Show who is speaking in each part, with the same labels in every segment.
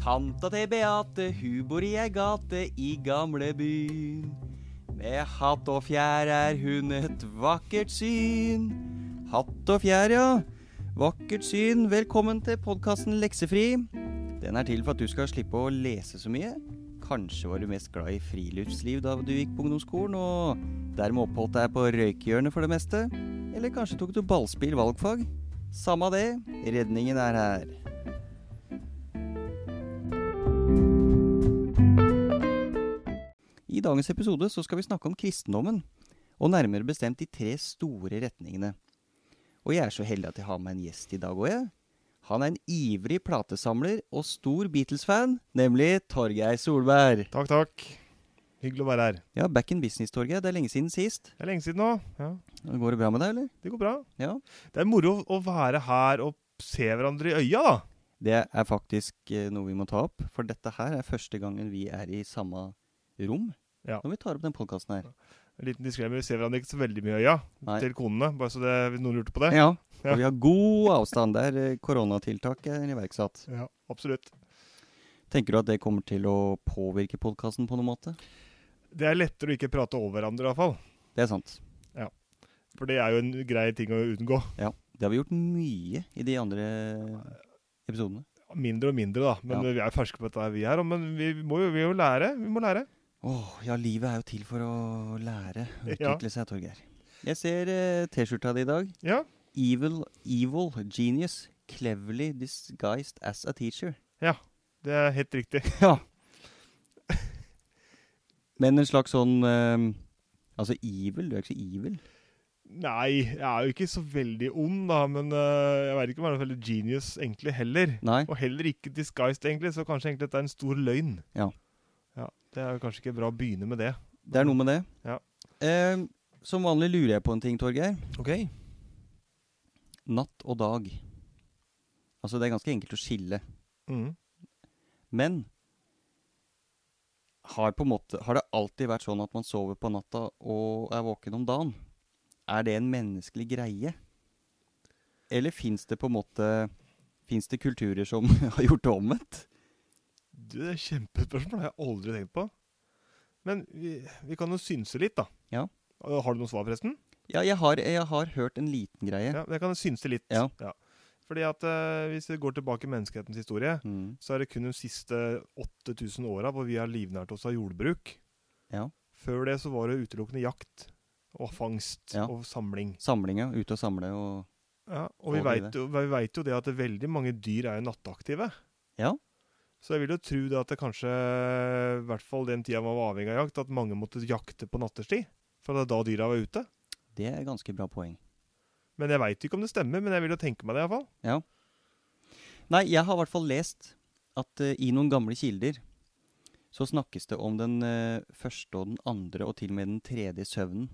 Speaker 1: Tanta til Beate, hun bor i ei gate i gamlebyen. Med hatt og fjær er hun et vakkert syn. Hatt og fjær, ja. Vakkert syn. Velkommen til podkasten Leksefri. Den er til for at du skal slippe å lese så mye. Kanskje var du mest glad i friluftsliv da du gikk på ungdomsskolen, og dermed oppholdt deg på røykehjørnet for det meste. Eller kanskje tok du ballspill valgfag. Samma det, redningen er her. I dagens episode så skal vi snakke om kristendommen, og nærmere bestemt de tre store retningene. Og jeg er så heldig at jeg har med en gjest i dag òg, jeg. Han er en ivrig platesamler og stor Beatles-fan, nemlig Torgeir Solberg.
Speaker 2: Takk, takk. Hyggelig å være her.
Speaker 1: Ja, back in business, Torgeir. Det er lenge siden sist.
Speaker 2: Det er lenge siden nå. Ja,
Speaker 1: Går det bra med deg, eller?
Speaker 2: det går bra.
Speaker 1: Ja.
Speaker 2: Det er moro å være her og se hverandre i øya, da.
Speaker 1: Det er faktisk eh, noe vi må ta opp, for dette her er første gangen vi er i samme rom
Speaker 2: Ja.
Speaker 1: når vi tar opp den podkasten her.
Speaker 2: En liten disclaimer, vi ser hverandre ikke så veldig mye i øya.
Speaker 1: Nei.
Speaker 2: Til konene, bare så det, hvis noen lurte på det.
Speaker 1: Ja.
Speaker 2: Ja.
Speaker 1: Og vi har god avstand der eh, koronatiltak er iverksatt.
Speaker 2: Ja, absolutt.
Speaker 1: Tenker du at det kommer til å påvirke podkasten på noen måte?
Speaker 2: Det er lettere å ikke prate over hverandre, iallfall.
Speaker 1: Det er sant.
Speaker 2: For det er jo en grei ting å unngå.
Speaker 1: Ja. Det har vi gjort mye i de andre episodene.
Speaker 2: Mindre og mindre, da. Men
Speaker 1: Ja.
Speaker 2: vi er ferske på dette, her, vi her. Men vi må jo, vi må jo lære. Vi må lære.
Speaker 1: Åh, ja, livet er jo til for å lære og
Speaker 2: Ja.
Speaker 1: utvikle seg, Torgeir. Jeg ser eh, T-skjorta di i dag.
Speaker 2: Ja.
Speaker 1: Evil, evil genius. Cleverly disguised as a teacher.
Speaker 2: Det er helt riktig.
Speaker 1: Ja. Men en slags sånn eh, Altså evil? Du er ikke så evil.
Speaker 2: Nei, jeg er jo ikke så veldig ond, da. Men øh, jeg veit ikke om jeg er noe veldig genius egentlig heller.
Speaker 1: Nei.
Speaker 2: Og heller ikke disguised, egentlig, så kanskje egentlig dette er en stor løgn.
Speaker 1: Ja.
Speaker 2: Ja, Det er jo kanskje ikke bra å begynne med det.
Speaker 1: Det er noe med det.
Speaker 2: Ja.
Speaker 1: Eh, som vanlig lurer jeg på en ting, Torgeir.
Speaker 2: Ok.
Speaker 1: Natt og dag. Altså, det er ganske enkelt å skille.
Speaker 2: Mm.
Speaker 1: Men har, på en måte, har det alltid vært sånn at man sover på natta og er våken om dagen? Er det en menneskelig greie? Eller fins det på en måte Fins det kulturer som har gjort det omvendt?
Speaker 2: Du, Det er et kjempespørsmål, det har jeg aldri tenkt på. Men vi, vi kan jo synse litt, da.
Speaker 1: Ja.
Speaker 2: Og Har du noe svar, forresten?
Speaker 1: Ja, jeg har, jeg har hørt en liten greie.
Speaker 2: Ja, Jeg kan synse litt.
Speaker 1: Ja.
Speaker 2: Fordi at eh, Hvis vi går tilbake i menneskehetens historie,
Speaker 1: Mm.
Speaker 2: så er det kun de siste 8000 åra hvor vi har livnært oss av jordbruk.
Speaker 1: Ja.
Speaker 2: Før det så var det utelukkende jakt og fangst
Speaker 1: Ja.
Speaker 2: og samling.
Speaker 1: Samlinga. Ute og samle og
Speaker 2: Ja, og vi
Speaker 1: Og drive.
Speaker 2: veit jo, vi vet jo det at det er veldig mange dyr er jo nattaktive.
Speaker 1: Ja.
Speaker 2: Så jeg vil jo tro det at det kanskje, i hvert fall den tida man var avhengig av jakt, at mange måtte jakte på nattestid. For det er da dyra var ute.
Speaker 1: Det er ganske bra poeng.
Speaker 2: Men jeg veit ikke om det stemmer, men jeg vil jo tenke meg det iallfall.
Speaker 1: Nei, jeg har i hvert fall lest at eh, i noen gamle kilder så snakkes det om den eh, første og den andre og til og med den tredje søvnen.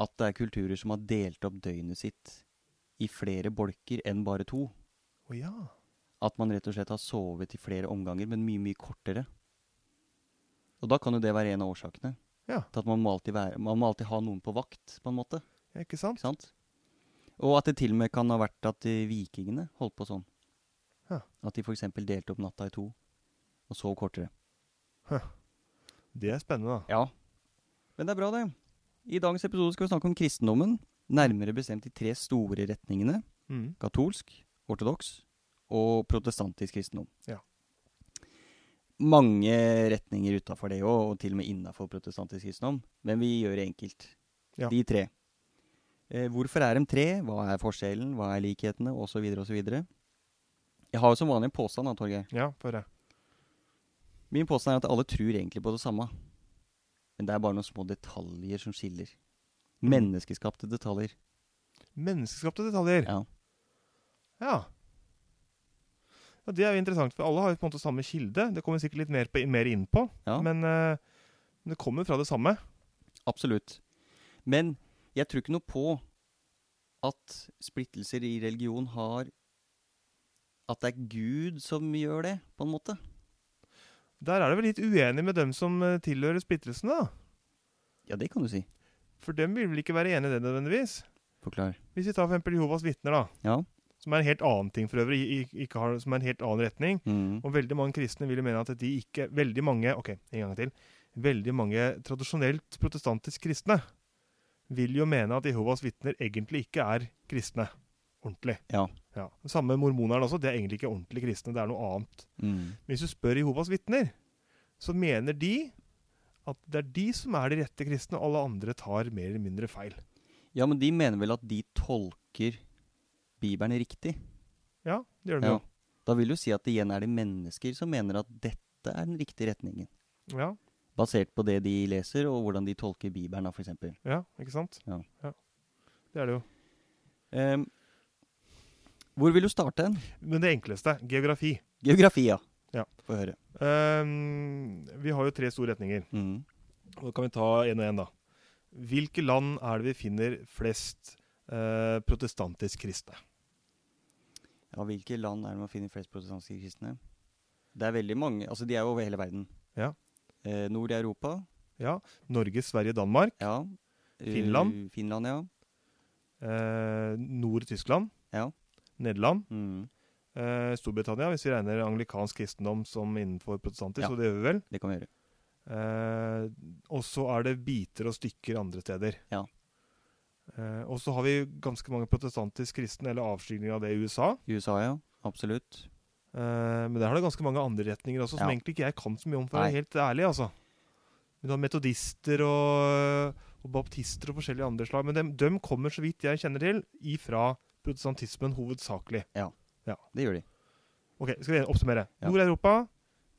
Speaker 1: At det er kulturer som har delt opp døgnet sitt i flere bolker enn bare to.
Speaker 2: Å ja.
Speaker 1: At man rett og slett har sovet i flere omganger, men mye, mye kortere. Og da kan jo det være en av årsakene.
Speaker 2: Ja.
Speaker 1: Til at man må, alltid være, man må alltid ha noen på vakt, på en måte.
Speaker 2: ja. Ikke sant?
Speaker 1: Ikke sant? Og at det til og med kan ha vært at eh, vikingene holdt på sånn.
Speaker 2: Ja.
Speaker 1: At de f.eks. delte opp natta i to og sov kortere.
Speaker 2: Det er spennende, da.
Speaker 1: Ja. Men det er bra, det. I dagens episode skal vi snakke om kristendommen. Nærmere bestemt de tre store retningene.
Speaker 2: Mm.
Speaker 1: Katolsk, ortodoks og protestantisk kristendom.
Speaker 2: Ja.
Speaker 1: Mange retninger utafor det òg, og til og med innafor protestantisk kristendom. Men vi gjør det enkelt.
Speaker 2: Ja.
Speaker 1: De tre. Eh, hvorfor er de tre? Hva er forskjellen? Hva er likhetene? Og så videre og så videre. Jeg har jo som vanlig en påstand, da, Torgeir.
Speaker 2: Ja, får jeg.
Speaker 1: Min påstand er at alle tror egentlig på det samme. Men det er bare noen små detaljer som skiller.
Speaker 2: Mm.
Speaker 1: Menneskeskapte detaljer.
Speaker 2: Menneskeskapte detaljer.
Speaker 1: Ja.
Speaker 2: Ja. ja. Det er jo interessant, for alle har jo på en måte samme kilde. Det kommer vi sikkert litt mer, på, mer inn på,
Speaker 1: Ja.
Speaker 2: men eh, det kommer fra det samme.
Speaker 1: Absolutt. Men jeg tror ikke noe på at splittelser i religion har At det er Gud som gjør det, på en måte.
Speaker 2: Der er det vel litt uenig med dem som eh, tilhører splittelsen, da.
Speaker 1: Ja, det kan du si.
Speaker 2: For dem vil vel ikke være enig i det nødvendigvis.
Speaker 1: Forklar.
Speaker 2: Hvis vi tar for eksempel Jehovas vitner, da.
Speaker 1: Ja.
Speaker 2: Som er en helt annen ting for øvrig, i- i- ikke har, som er en helt annen retning.
Speaker 1: Mm.
Speaker 2: Og veldig mange kristne vil jo mene at de ikke Veldig mange ok, en gang til veldig mange tradisjonelt protestantisk kristne vil jo mene at Jehovas vitner egentlig ikke er kristne. Ordentlig.
Speaker 1: Ja.
Speaker 2: ja. Det Samme med mormonerne også. De er egentlig ikke ordentlig kristne. Det er noe annet.
Speaker 1: Mm.
Speaker 2: Men hvis du spør Jehovas vitner, så mener de at det er de som er de rette kristne, og alle andre tar mer eller mindre feil.
Speaker 1: Ja, men de mener vel at de tolker Bibelen riktig?
Speaker 2: Ja, det gjør de
Speaker 1: Ja.
Speaker 2: jo.
Speaker 1: Da vil du si at det igjen er det mennesker som mener at dette er den riktige retningen.
Speaker 2: Ja,
Speaker 1: Basert på det de leser, og hvordan de tolker Bibelen, da, for eksempel.
Speaker 2: ja, ikke sant?
Speaker 1: Ja.
Speaker 2: Det er det jo.
Speaker 1: Ehm, hvor vil du starte hen?
Speaker 2: Men det enkleste geografi.
Speaker 1: Geografi, ja.
Speaker 2: Ja.
Speaker 1: Få høre.
Speaker 2: Ehm, vi har jo tre store retninger.
Speaker 1: Mm.
Speaker 2: Og Da kan vi ta én og én, da. Hvilke land er det vi finner flest eh, protestantisk kristne?
Speaker 1: Ja, hvilke land er det man finner flest protestantiske kristne? Det er veldig mange. Altså, de er jo over hele verden.
Speaker 2: Ja.
Speaker 1: Eh, nord i Europa.
Speaker 2: Ja, Norge, Sverige, Danmark.
Speaker 1: Ja.
Speaker 2: Finland?
Speaker 1: Eh, Finland, ja.
Speaker 2: eh, nord i Tyskland.
Speaker 1: Ja.
Speaker 2: Nederland.
Speaker 1: Mm.
Speaker 2: eh, Storbritannia, hvis vi regner anglikansk kristendom som innenfor protestanter,
Speaker 1: Ja.
Speaker 2: så det gjør vi vel.
Speaker 1: Det kan vi gjøre.
Speaker 2: Eh, og så er det biter og stykker andre steder.
Speaker 1: Ja.
Speaker 2: Eh, og så har vi ganske mange protestantisk kristne, eller avskygninger av det i USA.
Speaker 1: USA, ja. Absolutt.
Speaker 2: Eh, men der har det ganske mange andre retninger også, som
Speaker 1: Ja.
Speaker 2: egentlig ikke jeg kan så mye om, for å
Speaker 1: Nei.
Speaker 2: være helt ærlig, altså. Men du har metodister og, og baptister og forskjellige andre slag. Men dem, dem kommer, så vidt jeg kjenner til, ifra protestantismen hovedsakelig.
Speaker 1: Det gjør de.
Speaker 2: Ok, skal vi oppsummere.
Speaker 1: Ja.
Speaker 2: Nord-Europa,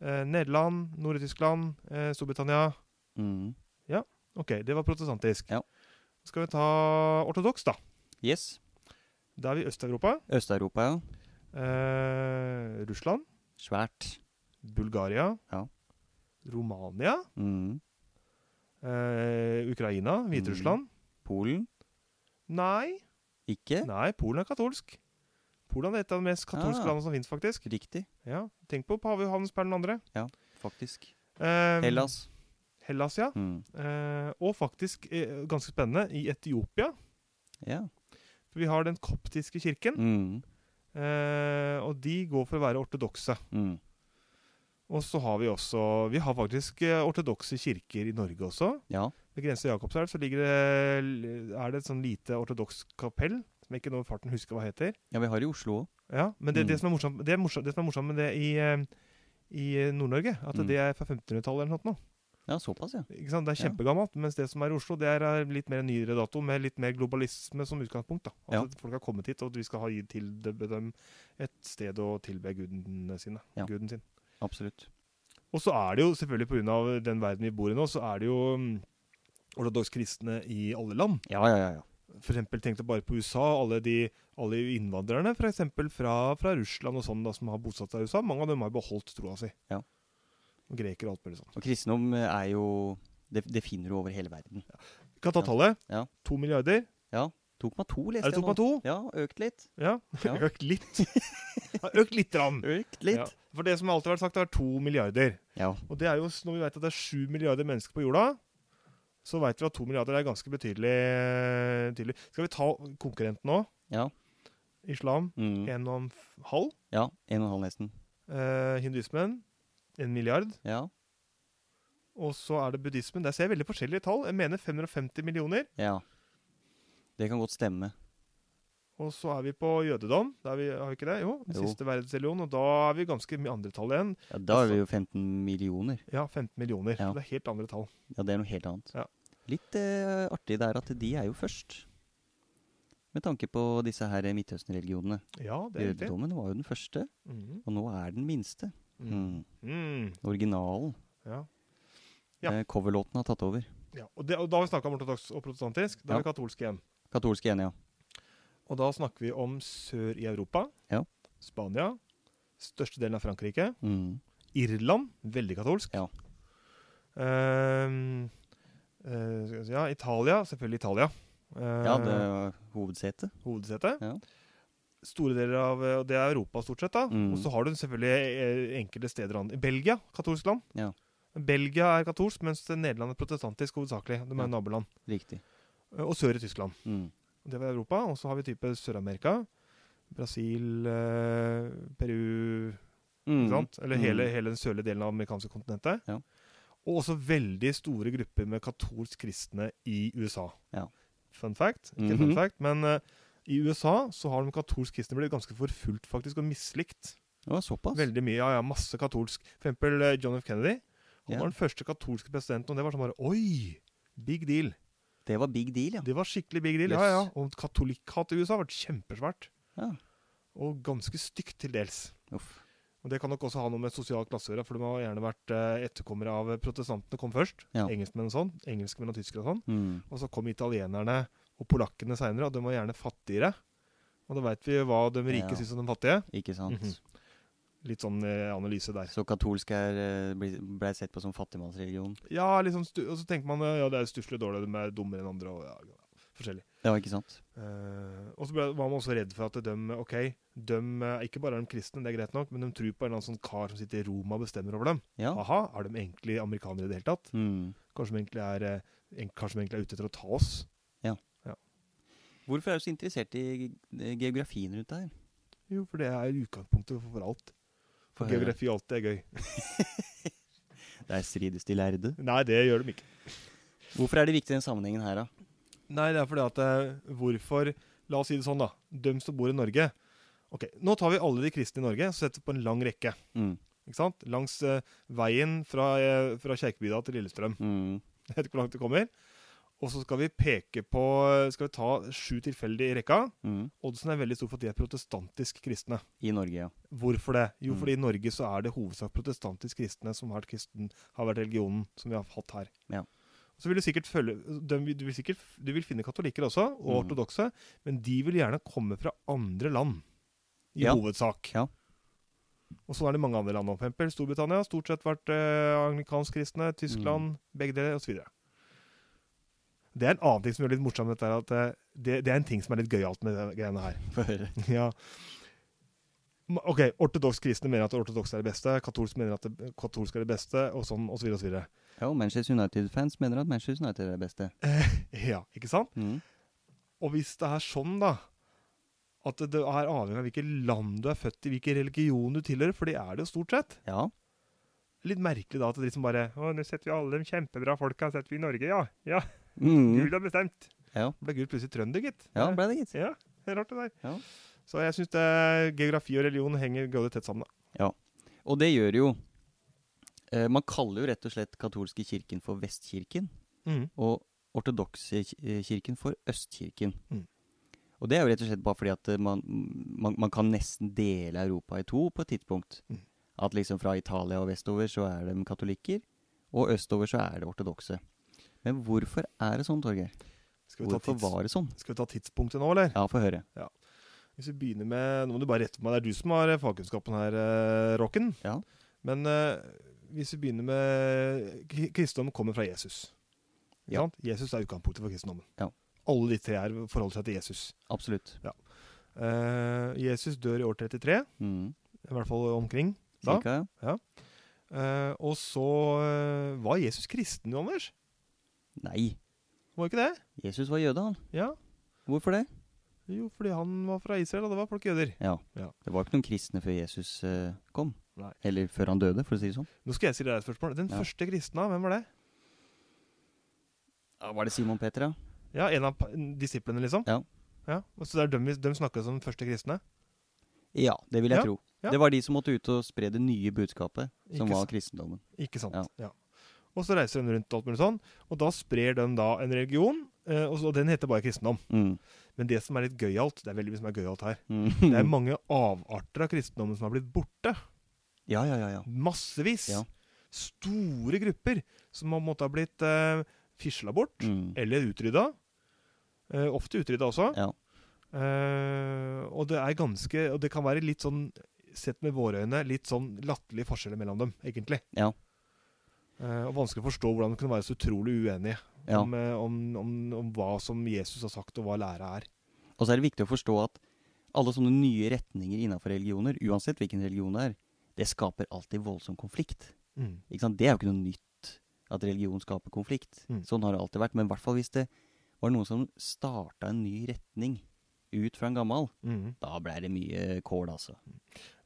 Speaker 2: eh, Nederland, Nord-Tyskland, eh, Storbritannia.
Speaker 1: Mm.
Speaker 2: Ok, det var protestantisk.
Speaker 1: Ja.
Speaker 2: Skal vi ta ortodoks, da?
Speaker 1: Yes.
Speaker 2: Da er vi i Øst-Europa.
Speaker 1: Øst-Europa, ja.
Speaker 2: Eh, Russland,
Speaker 1: Svært.
Speaker 2: Bulgaria,
Speaker 1: Ja.
Speaker 2: Romania,
Speaker 1: Mm.
Speaker 2: eh, Ukraina, Hviterussland.
Speaker 1: Polen? Mm.
Speaker 2: Nei,
Speaker 1: Ikke?
Speaker 2: nei, Polen er katolsk. Polen er et av de mest katolske
Speaker 1: Ah.
Speaker 2: landene som finnes, faktisk.
Speaker 1: Riktig,
Speaker 2: Ja, Tenk på Pavehavns per den andre.
Speaker 1: faktisk.
Speaker 2: Eh,
Speaker 1: Hellas.
Speaker 2: Hellas, ja.
Speaker 1: Mm.
Speaker 2: Eh, og faktisk, eh, ganske spennende, i Etiopia.
Speaker 1: Ja.
Speaker 2: For vi har den koptiske kirken,
Speaker 1: Mm.
Speaker 2: eh, og de går for å være ortodokse.
Speaker 1: Mm.
Speaker 2: Og så har vi også Vi har faktisk eh, ortodokse kirker i Norge også.
Speaker 1: Ja.
Speaker 2: Ved grensa til Jakobselv så ligger det, er det et sånn lite ortodoks kapell, som jeg ikke nå i farten husker hva heter.
Speaker 1: ja, vi har i Oslo òg.
Speaker 2: Ja, men det,
Speaker 1: Mm.
Speaker 2: det, som er morsomt, det, er morsomt, det som er morsomt med det i, eh, i Nord-Norge, at
Speaker 1: Mm.
Speaker 2: det er fra 1500-tallet eller noe. sånt nå.
Speaker 1: Ja, såpass, ja.
Speaker 2: Ikke sant? Det er
Speaker 1: Ja.
Speaker 2: kjempegammelt, mens det som er i Oslo, det er eh, litt mer nyere dato, med litt mer globalisme som utgangspunkt. da.
Speaker 1: Ja.
Speaker 2: Altså, at Folk har kommet hit, og at vi skal ha gi- tilbe dem et sted å tilbe gudene sine.
Speaker 1: Ja.
Speaker 2: Guden sin.
Speaker 1: Absolutt.
Speaker 2: Og så er det jo, selvfølgelig pga. den verden vi bor i nå, så er det jo mm, ortodoks kristne i alle land.
Speaker 1: Ja, ja, ja. ja.
Speaker 2: For eksempel tenkte jeg bare på USA, alle de alle innvandrerne for eksempel, fra, fra Russland og sånn da, som har bosatt seg i USA. Mange av dem har jo beholdt troa si.
Speaker 1: Ja.
Speaker 2: Og grekere og alt mulig sånt.
Speaker 1: Og kristendom eh, er jo Det, det finner du over hele verden.
Speaker 2: Vi kan ta
Speaker 1: Ja.
Speaker 2: tallet.
Speaker 1: Ja.
Speaker 2: To milliarder.
Speaker 1: 2,2
Speaker 2: Er
Speaker 1: leste
Speaker 2: det 2,2?
Speaker 1: Ja, økt litt.
Speaker 2: Ja.
Speaker 1: Ja.
Speaker 2: Økt litt. Det har økt litt. Rann.
Speaker 1: Økt
Speaker 2: Ja. For det som alltid har vært sagt, det er to milliarder.
Speaker 1: Ja.
Speaker 2: Og det er jo, når vi vet at det er sju milliarder mennesker på jorda, så vet vi at to milliarder er ganske betydelig. betydelig. Skal vi ta konkurrenten nå?
Speaker 1: Ja.
Speaker 2: Islam
Speaker 1: Mm.
Speaker 2: en og en f- halv.
Speaker 1: ja. En og en halv, nesten.
Speaker 2: Eh, hinduismen en milliard.
Speaker 1: Ja.
Speaker 2: Og så er det buddhismen. Der ser jeg veldig forskjellige tall. Jeg mener 550 millioner.
Speaker 1: ja. Det kan godt stemme.
Speaker 2: Og så er vi på jødedom. Der er vi, har vi ikke det? Jo, den
Speaker 1: Jo.
Speaker 2: siste verdensreligion. Og da er vi ganske mye andre tall igjen.
Speaker 1: Ja, da er vi jo
Speaker 2: Altså-
Speaker 1: 15 millioner.
Speaker 2: Ja, 15 millioner.
Speaker 1: Ja.
Speaker 2: Så det er helt andre tall.
Speaker 1: Ja, det er noe helt annet.
Speaker 2: Ja.
Speaker 1: Litt eh, artig det er at de er jo først. Med tanke på disse her eh, Midtøsten-religionene.
Speaker 2: Ja, det er riktig.
Speaker 1: Jødedommen var jo den første,
Speaker 2: Mhm.
Speaker 1: og nå er den minste.
Speaker 2: Mm.
Speaker 1: Mm.
Speaker 2: Mm.
Speaker 1: Originalen.
Speaker 2: Ja. Ja.
Speaker 1: Eh, coverlåten har tatt over.
Speaker 2: ja. Og, det, og da har vi snakka om ortodoks og protestantisk. Da er
Speaker 1: Ja.
Speaker 2: vi katolske igjen.
Speaker 1: Katolske igjen, ja.
Speaker 2: Og da snakker vi om sør i Europa.
Speaker 1: Ja.
Speaker 2: Spania. Største delen av Frankrike.
Speaker 1: Mm.
Speaker 2: Irland, veldig katolsk.
Speaker 1: Ja.
Speaker 2: Ehm, eh, skal vi si, ja, Italia, selvfølgelig Italia. Eh,
Speaker 1: Ja, det er hovedsetet.
Speaker 2: Hovedsete.
Speaker 1: Ja.
Speaker 2: Store deler av eh, og Det er Europa, stort sett. da.
Speaker 1: Mm.
Speaker 2: Og så har du selvfølgelig eh, enkelte steder an- Belgia, katolsk land.
Speaker 1: Ja.
Speaker 2: Belgia er katolsk, mens Nederland er protestantisk hovedsakelig. De er
Speaker 1: Ja.
Speaker 2: naboland.
Speaker 1: Riktig.
Speaker 2: Eh, Og sør i Tyskland.
Speaker 1: Mm.
Speaker 2: Det var Europa. Og så har vi type Sør-Amerika. Brasil, eh, Peru
Speaker 1: Mm.
Speaker 2: ikke sant? Eller hele,
Speaker 1: Mm.
Speaker 2: hele den sørlige delen av det amerikanske kontinentet.
Speaker 1: Ja.
Speaker 2: Og også veldig store grupper med katolsk kristne i USA.
Speaker 1: Ja.
Speaker 2: Fun fact. Ikke fun
Speaker 1: Mhm.
Speaker 2: fact, men eh, i USA så har de katolsk kristne blitt ganske forfulgt faktisk, og mislikt.
Speaker 1: Det var såpass.
Speaker 2: Veldig mye, ja, ja, masse katolsk. For eksempel eh, John F. Kennedy. Han
Speaker 1: Ja.
Speaker 2: var den første katolske presidenten, og det var sånn bare Oi! Big deal.
Speaker 1: Det var big deal, ja.
Speaker 2: Det var skikkelig big deal.
Speaker 1: Yes.
Speaker 2: Ja, ja. Og katolikkhat i USA har vært kjempesvært.
Speaker 1: Ja.
Speaker 2: Og ganske stygt til dels.
Speaker 1: Uff.
Speaker 2: Og Det kan nok også ha noe med sosial klasse å gjøre, for de har gjerne vært eh, etterkommere av protestantene kom først.
Speaker 1: Ja.
Speaker 2: Engelskmenn og sånn. Engelskmenn og tyskere og sånn.
Speaker 1: Mm.
Speaker 2: Og så kom italienerne og polakkene seinere, og de var gjerne fattigere. Og da veit vi hva de rike
Speaker 1: Ja.
Speaker 2: syns om de fattige.
Speaker 1: Ikke sant.
Speaker 2: Mhm. Litt sånn eh, analyse der.
Speaker 1: Så katolsk er, eh, bli- ble sett på som fattigmannsreligion.
Speaker 2: Ja, liksom stu Og så tenker man eh, ja, det er stusslig dårlig, de er dummere enn andre, og ja, ja, forskjellig.
Speaker 1: Ja, ikke sant.
Speaker 2: Eh, og så ble, var man også redd for at de OK, de, eh, ikke bare er de kristne, det er greit nok, men de tror på en eller annen sånn kar som sitter i Roma og bestemmer over dem.
Speaker 1: Ja.
Speaker 2: Aha, er de egentlig amerikanere i det hele tatt?
Speaker 1: Mm.
Speaker 2: Kanskje de egentlig er, eh, en- kanskje de egentlig er ute etter å ta oss?
Speaker 1: Hvorfor er du så interessert i ge- geografien rundt det her?
Speaker 2: Jo, for det er utgangspunktet for alt. For
Speaker 1: Få høre.
Speaker 2: geografi alltid er gøy.
Speaker 1: Det er strides de lærde.
Speaker 2: Nei, det gjør de ikke.
Speaker 1: Hvorfor er det viktig i den sammenhengen her, da?
Speaker 2: Nei, det er fordi at eh, hvorfor La oss si det sånn, da. Dem som bor i Norge. Ok, Nå tar vi alle de kristne i Norge og setter på en lang rekke.
Speaker 1: Mm.
Speaker 2: ikke sant? Langs eh, veien fra, uh, fra Kjerkebygda til Lillestrøm.
Speaker 1: Mm.
Speaker 2: Jeg vet ikke hvor langt det kommer. Og så skal vi peke på Skal vi ta sju tilfeldige i rekka?
Speaker 1: Mm.
Speaker 2: Oddsen er veldig stor for at de er protestantisk kristne.
Speaker 1: I Norge, ja.
Speaker 2: Hvorfor det? Jo,
Speaker 1: Mm.
Speaker 2: fordi i Norge så er det hovedsak protestantisk kristne som har vært, kristen, har vært religionen som vi har hatt her.
Speaker 1: Ja.
Speaker 2: Så vil Du sikkert følge, dem- du, vil sikkert, du vil finne katolikker også, og
Speaker 1: Mm.
Speaker 2: ortodokse, men de vil gjerne komme fra andre land. I
Speaker 1: Ja.
Speaker 2: hovedsak.
Speaker 1: Ja.
Speaker 2: Og så er det mange andre land. nå. For eksempel Storbritannia har stort sett vært eh, anglikansk kristne,
Speaker 1: Mm.
Speaker 2: Tyskland, begge deler, osv. Det er en annen ting som gjør det litt morsomt, dette, her, at eh, det, det er en ting som er litt gøyalt med de greiene her.
Speaker 1: Få høre.
Speaker 2: Ja. Ma- Ok, ortodoks kristne mener at ortodoks er det beste, katolsk mener at det, katolsk er det beste, og sånn og så videre og så videre.
Speaker 1: Ja, og Manchester United-fans mener at Manchester United er det beste.
Speaker 2: Ja, ikke sant?
Speaker 1: Mm.
Speaker 2: Og hvis det er sånn, da, at det er avhengig av hvilket land du er født i, hvilken religion du tilhører, for det er det jo stort sett.
Speaker 1: Ja.
Speaker 2: Litt merkelig da at det liksom bare Å, nå setter vi alle de kjempebra folka, setter vi i Norge, ja. Ja,
Speaker 1: Mm.
Speaker 2: Gud har bestemt.
Speaker 1: Ja.
Speaker 2: Ble Gud plutselig trønder, gitt.
Speaker 1: Ja, ble det gitt.
Speaker 2: Ja, det er rart det der.
Speaker 1: Ja.
Speaker 2: Så jeg syns geografi og religion henger grådig tett sammen, da.
Speaker 1: Og det gjør jo eh, Man kaller jo rett og slett katolske kirken for Vestkirken,
Speaker 2: Mm.
Speaker 1: og ortodokse ki- eh, kirken for Østkirken.
Speaker 2: Mm.
Speaker 1: Og det er jo rett og slett bare fordi at eh, man, man, man kan nesten dele Europa i to på et tidspunkt.
Speaker 2: Mm.
Speaker 1: At liksom fra Italia og vestover så er de katolikker, og østover så er det ortodokse. Men hvorfor er det sånn, Torgeir?
Speaker 2: Skal vi, ta
Speaker 1: Hvorfor
Speaker 2: tids...
Speaker 1: var det sånn?
Speaker 2: Skal vi ta tidspunktet nå, eller?
Speaker 1: Ja, få høre.
Speaker 2: Hvis vi begynner med, Nå må du bare rette på meg, det er du som har eh, fagkunnskapen her, eh, Rocken.
Speaker 1: Ja.
Speaker 2: Men eh, hvis vi begynner med kri- Kristendommen kommer fra Jesus. Ikke
Speaker 1: Ja.
Speaker 2: sant? Jesus er utgangspunktet for kristendommen.
Speaker 1: Ja.
Speaker 2: Alle de tre her forholder seg til Jesus.
Speaker 1: Absolutt.
Speaker 2: Eh, Jesus dør i år 33,
Speaker 1: Mm.
Speaker 2: i hvert fall omkring. Da?
Speaker 1: Cirka, ja.
Speaker 2: Eh, og så eh, var Jesus kristen, jo, Anders?
Speaker 1: Nei.
Speaker 2: Var ikke det?
Speaker 1: Jesus var jøde, han.
Speaker 2: Ja.
Speaker 1: Hvorfor det?
Speaker 2: Jo, fordi han var fra Israel, og det var folk jøder.
Speaker 1: Ja.
Speaker 2: Ja.
Speaker 1: Det var ikke noen kristne før Jesus eh, kom.
Speaker 2: Nei.
Speaker 1: Eller før han døde, for å si det sånn.
Speaker 2: Nå skal jeg stille deg et spørsmål. Den
Speaker 1: Ja.
Speaker 2: første kristne, hvem var det?
Speaker 1: Ja, var det Simon Peter, ja?
Speaker 2: Ja, en av pa- disiplene, liksom?
Speaker 1: Ja.
Speaker 2: Ja, og Så det er dem vi- dem snakkes om første kristne?
Speaker 1: Ja, det vil jeg
Speaker 2: Ja,
Speaker 1: tro.
Speaker 2: ja.
Speaker 1: Det var de som måtte ut og spre det nye budskapet, som
Speaker 2: Ikke
Speaker 1: var
Speaker 2: sant.
Speaker 1: kristendommen.
Speaker 2: Ikke sant?
Speaker 1: Ja.
Speaker 2: Ja. Og så reiser de rundt og alt mulig sånn, og da sprer de da en religion, eh, og, så, og den heter bare kristendom.
Speaker 1: Mm.
Speaker 2: Men det som er litt gøyalt, det er veldig mye som er gøyalt her, det er
Speaker 1: Mm.
Speaker 2: mange avarter av kristendommen som har blitt borte.
Speaker 1: Ja, ja, ja. ja.
Speaker 2: Massevis.
Speaker 1: Ja.
Speaker 2: Store grupper som har måttet ha blitt eh, fisla bort,
Speaker 1: Mm.
Speaker 2: eller utrydda. Eh, ofte utrydda også.
Speaker 1: Ja.
Speaker 2: Eh, og det er ganske Og det kan være litt sånn, sett med våre øyne, litt sånn latterlige forskjeller mellom dem, egentlig.
Speaker 1: Ja.
Speaker 2: Eh, og vanskelig å forstå hvordan de kunne være så utrolig uenige
Speaker 1: ja.
Speaker 2: om, eh, om, om, om hva som Jesus har sagt, og hva læra er.
Speaker 1: Og så er det viktig å forstå at alle sånne nye retninger innenfor religioner, uansett hvilken religion det er, det skaper alltid voldsom konflikt.
Speaker 2: Mm.
Speaker 1: Ikke sant? Det er jo ikke noe nytt at religion skaper konflikt.
Speaker 2: Mm.
Speaker 1: Sånn har det alltid vært. Men i hvert fall hvis det var noen som starta en ny retning ut fra en gammel,
Speaker 2: Mhm.
Speaker 1: da ble det mye kål, altså.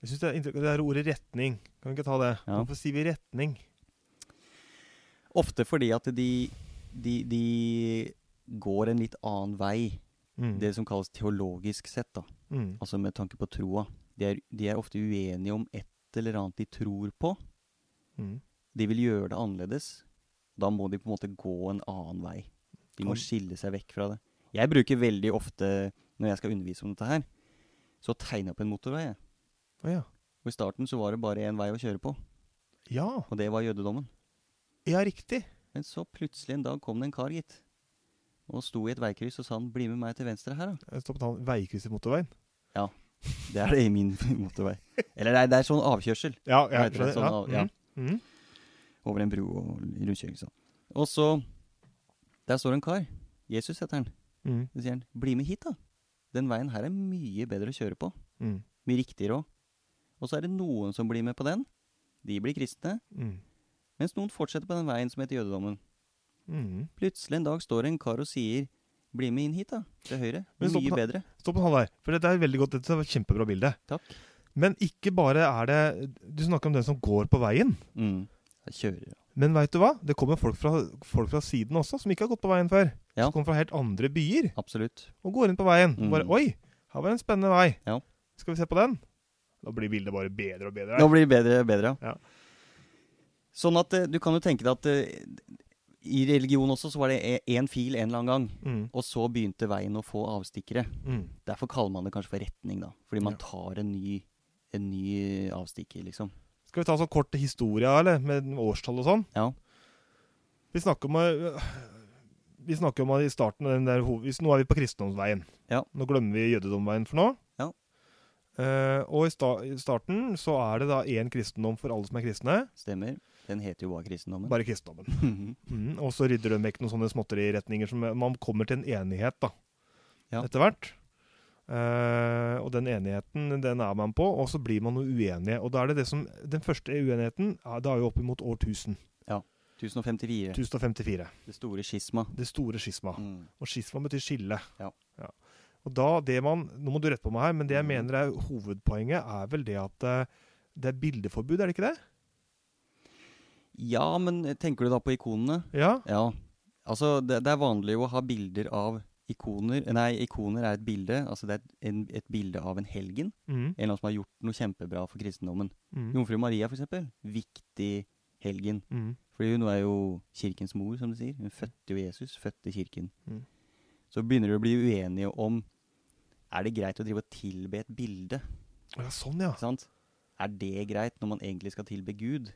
Speaker 2: Jeg synes det, er inntrykk- det er ordet retning. Kan vi ikke ta det?
Speaker 1: Ja.
Speaker 2: Hvorfor sier vi retning?
Speaker 1: Ofte fordi at de, de, de går en litt annen vei.
Speaker 2: Mhm.
Speaker 1: Det som kalles teologisk sett, da.
Speaker 2: Mhm.
Speaker 1: Altså med tanke på troa. De er, de er ofte uenige om et eller annet de tror på.
Speaker 2: Mhm.
Speaker 1: De vil gjøre det annerledes. Da må de på en måte gå en annen vei. De må
Speaker 2: Kan-
Speaker 1: skille seg vekk fra det. Jeg bruker veldig ofte, når jeg skal undervise om dette her, så tegner jeg opp en motorvei. jeg.
Speaker 2: Å ja.
Speaker 1: Og I starten så var det bare én vei å kjøre på,
Speaker 2: Ja,
Speaker 1: og det var jødedommen.
Speaker 2: ja, riktig.
Speaker 1: Men så plutselig en dag kom det en kar, gitt. Og sto i et veikryss og sa han 'bli med meg til venstre her', da.
Speaker 2: Jeg stoppet han veikryss i motorveien.
Speaker 1: Det er det i min motorvei. Eller nei, det er sånn avkjørsel.
Speaker 2: Ja,
Speaker 1: Ja,
Speaker 2: ja,
Speaker 1: jeg tror det er
Speaker 2: skjønner,
Speaker 1: sånn, ja.
Speaker 2: Mhm. Mhm.
Speaker 1: over en bro og rundkjøring sånn. Og så Der står en kar. Jesus heter han.
Speaker 2: Mhm.
Speaker 1: Så sier han, 'Bli med hit, da'. Den veien her er mye bedre å kjøre på.
Speaker 2: Mhm.
Speaker 1: Mye riktigere òg. Og så er det noen som blir med på den. De blir kristne.
Speaker 2: Mhm.
Speaker 1: Mens noen fortsetter på den veien som heter jødedommen.
Speaker 2: Mhm.
Speaker 1: Plutselig en dag står det en kar og sier 'Bli med inn hit, da. Til høyre.
Speaker 2: Men stopp,
Speaker 1: Mye
Speaker 2: da.
Speaker 1: bedre'.
Speaker 2: Stopp han der. For dette er veldig godt. Dette er et kjempebra bilde.
Speaker 1: Takk.
Speaker 2: Men ikke bare er det Du snakker om den som går på veien.
Speaker 1: Mm. Jeg kjører.
Speaker 2: Men veit du hva? Det kommer folk fra, folk fra siden også, som ikke har gått på veien før.
Speaker 1: Ja.
Speaker 2: Som kommer fra helt andre byer
Speaker 1: Absolutt.
Speaker 2: og går inn på veien.
Speaker 1: Mm.
Speaker 2: Og bare Oi, her var det en spennende vei.
Speaker 1: Ja.
Speaker 2: Skal vi se på den? Da blir bildet bare bedre og bedre.
Speaker 1: Nå blir det bedre og bedre,
Speaker 2: Ja.
Speaker 1: Sånn at eh, du kan jo tenke deg at eh, i religion også så var det én fil en eller annen gang.
Speaker 2: Mm.
Speaker 1: Og så begynte veien å få avstikkere.
Speaker 2: Mm.
Speaker 1: Derfor kaller man det kanskje for retning, da. Fordi man
Speaker 2: Ja.
Speaker 1: tar en ny, en ny avstikker, liksom.
Speaker 2: Skal vi ta sånn kort historie, eller? Med årstall og sånn?
Speaker 1: Ja.
Speaker 2: Vi snakker om øh, Vi snakker om at i starten av den der hoved... hvis- Nå er vi på kristendomsveien.
Speaker 1: Ja.
Speaker 2: Nå glemmer vi jødedomveien for nå.
Speaker 1: Ja.
Speaker 2: Eh, og i, sta i starten så er det da én kristendom for alle som er kristne.
Speaker 1: Stemmer. Den heter jo bare kristendommen.
Speaker 2: Bare kristendommen.
Speaker 1: Mhm.
Speaker 2: Mm, og så rydder de vekk noen sånne småtteriretninger som man kommer til en enighet da,
Speaker 1: Ja.
Speaker 2: etter hvert. Eh, og den enigheten den er man på, og så blir man noe uenige. Og da er det det som, den første uenigheten ja, det er jo oppimot år 1000.
Speaker 1: 1054.
Speaker 2: 1054.
Speaker 1: Det store skisma.
Speaker 2: Det store skisma.
Speaker 1: Mm.
Speaker 2: Og skisma betyr skille.
Speaker 1: Ja.
Speaker 2: Og da det man, Nå må du rette på meg her, men det jeg
Speaker 1: Mhm.
Speaker 2: mener er hovedpoenget, er vel det at eh, det er bildeforbud, er det ikke det?
Speaker 1: Ja, men eh, tenker du da på ikonene?
Speaker 2: Ja.
Speaker 1: Ja. Altså, det, det er vanlig å ha bilder av ikoner Nei, ikoner er et bilde. Altså, det er et, en, et bilde av en helgen.
Speaker 2: Mhm.
Speaker 1: En eller annen som har gjort noe kjempebra for kristendommen.
Speaker 2: Mhm.
Speaker 1: Jomfru Maria, for eksempel. Viktig helgen.
Speaker 2: Mhm.
Speaker 1: Fordi hun er jo kirkens mor, som de sier. Hun fødte jo Jesus, fødte kirken.
Speaker 2: Mm.
Speaker 1: Så begynner de å bli uenige om Er det greit å drive og tilbe et bilde?
Speaker 2: Ja, sånn, ja.
Speaker 1: Ikke sant? Er det greit når man egentlig skal tilbe Gud?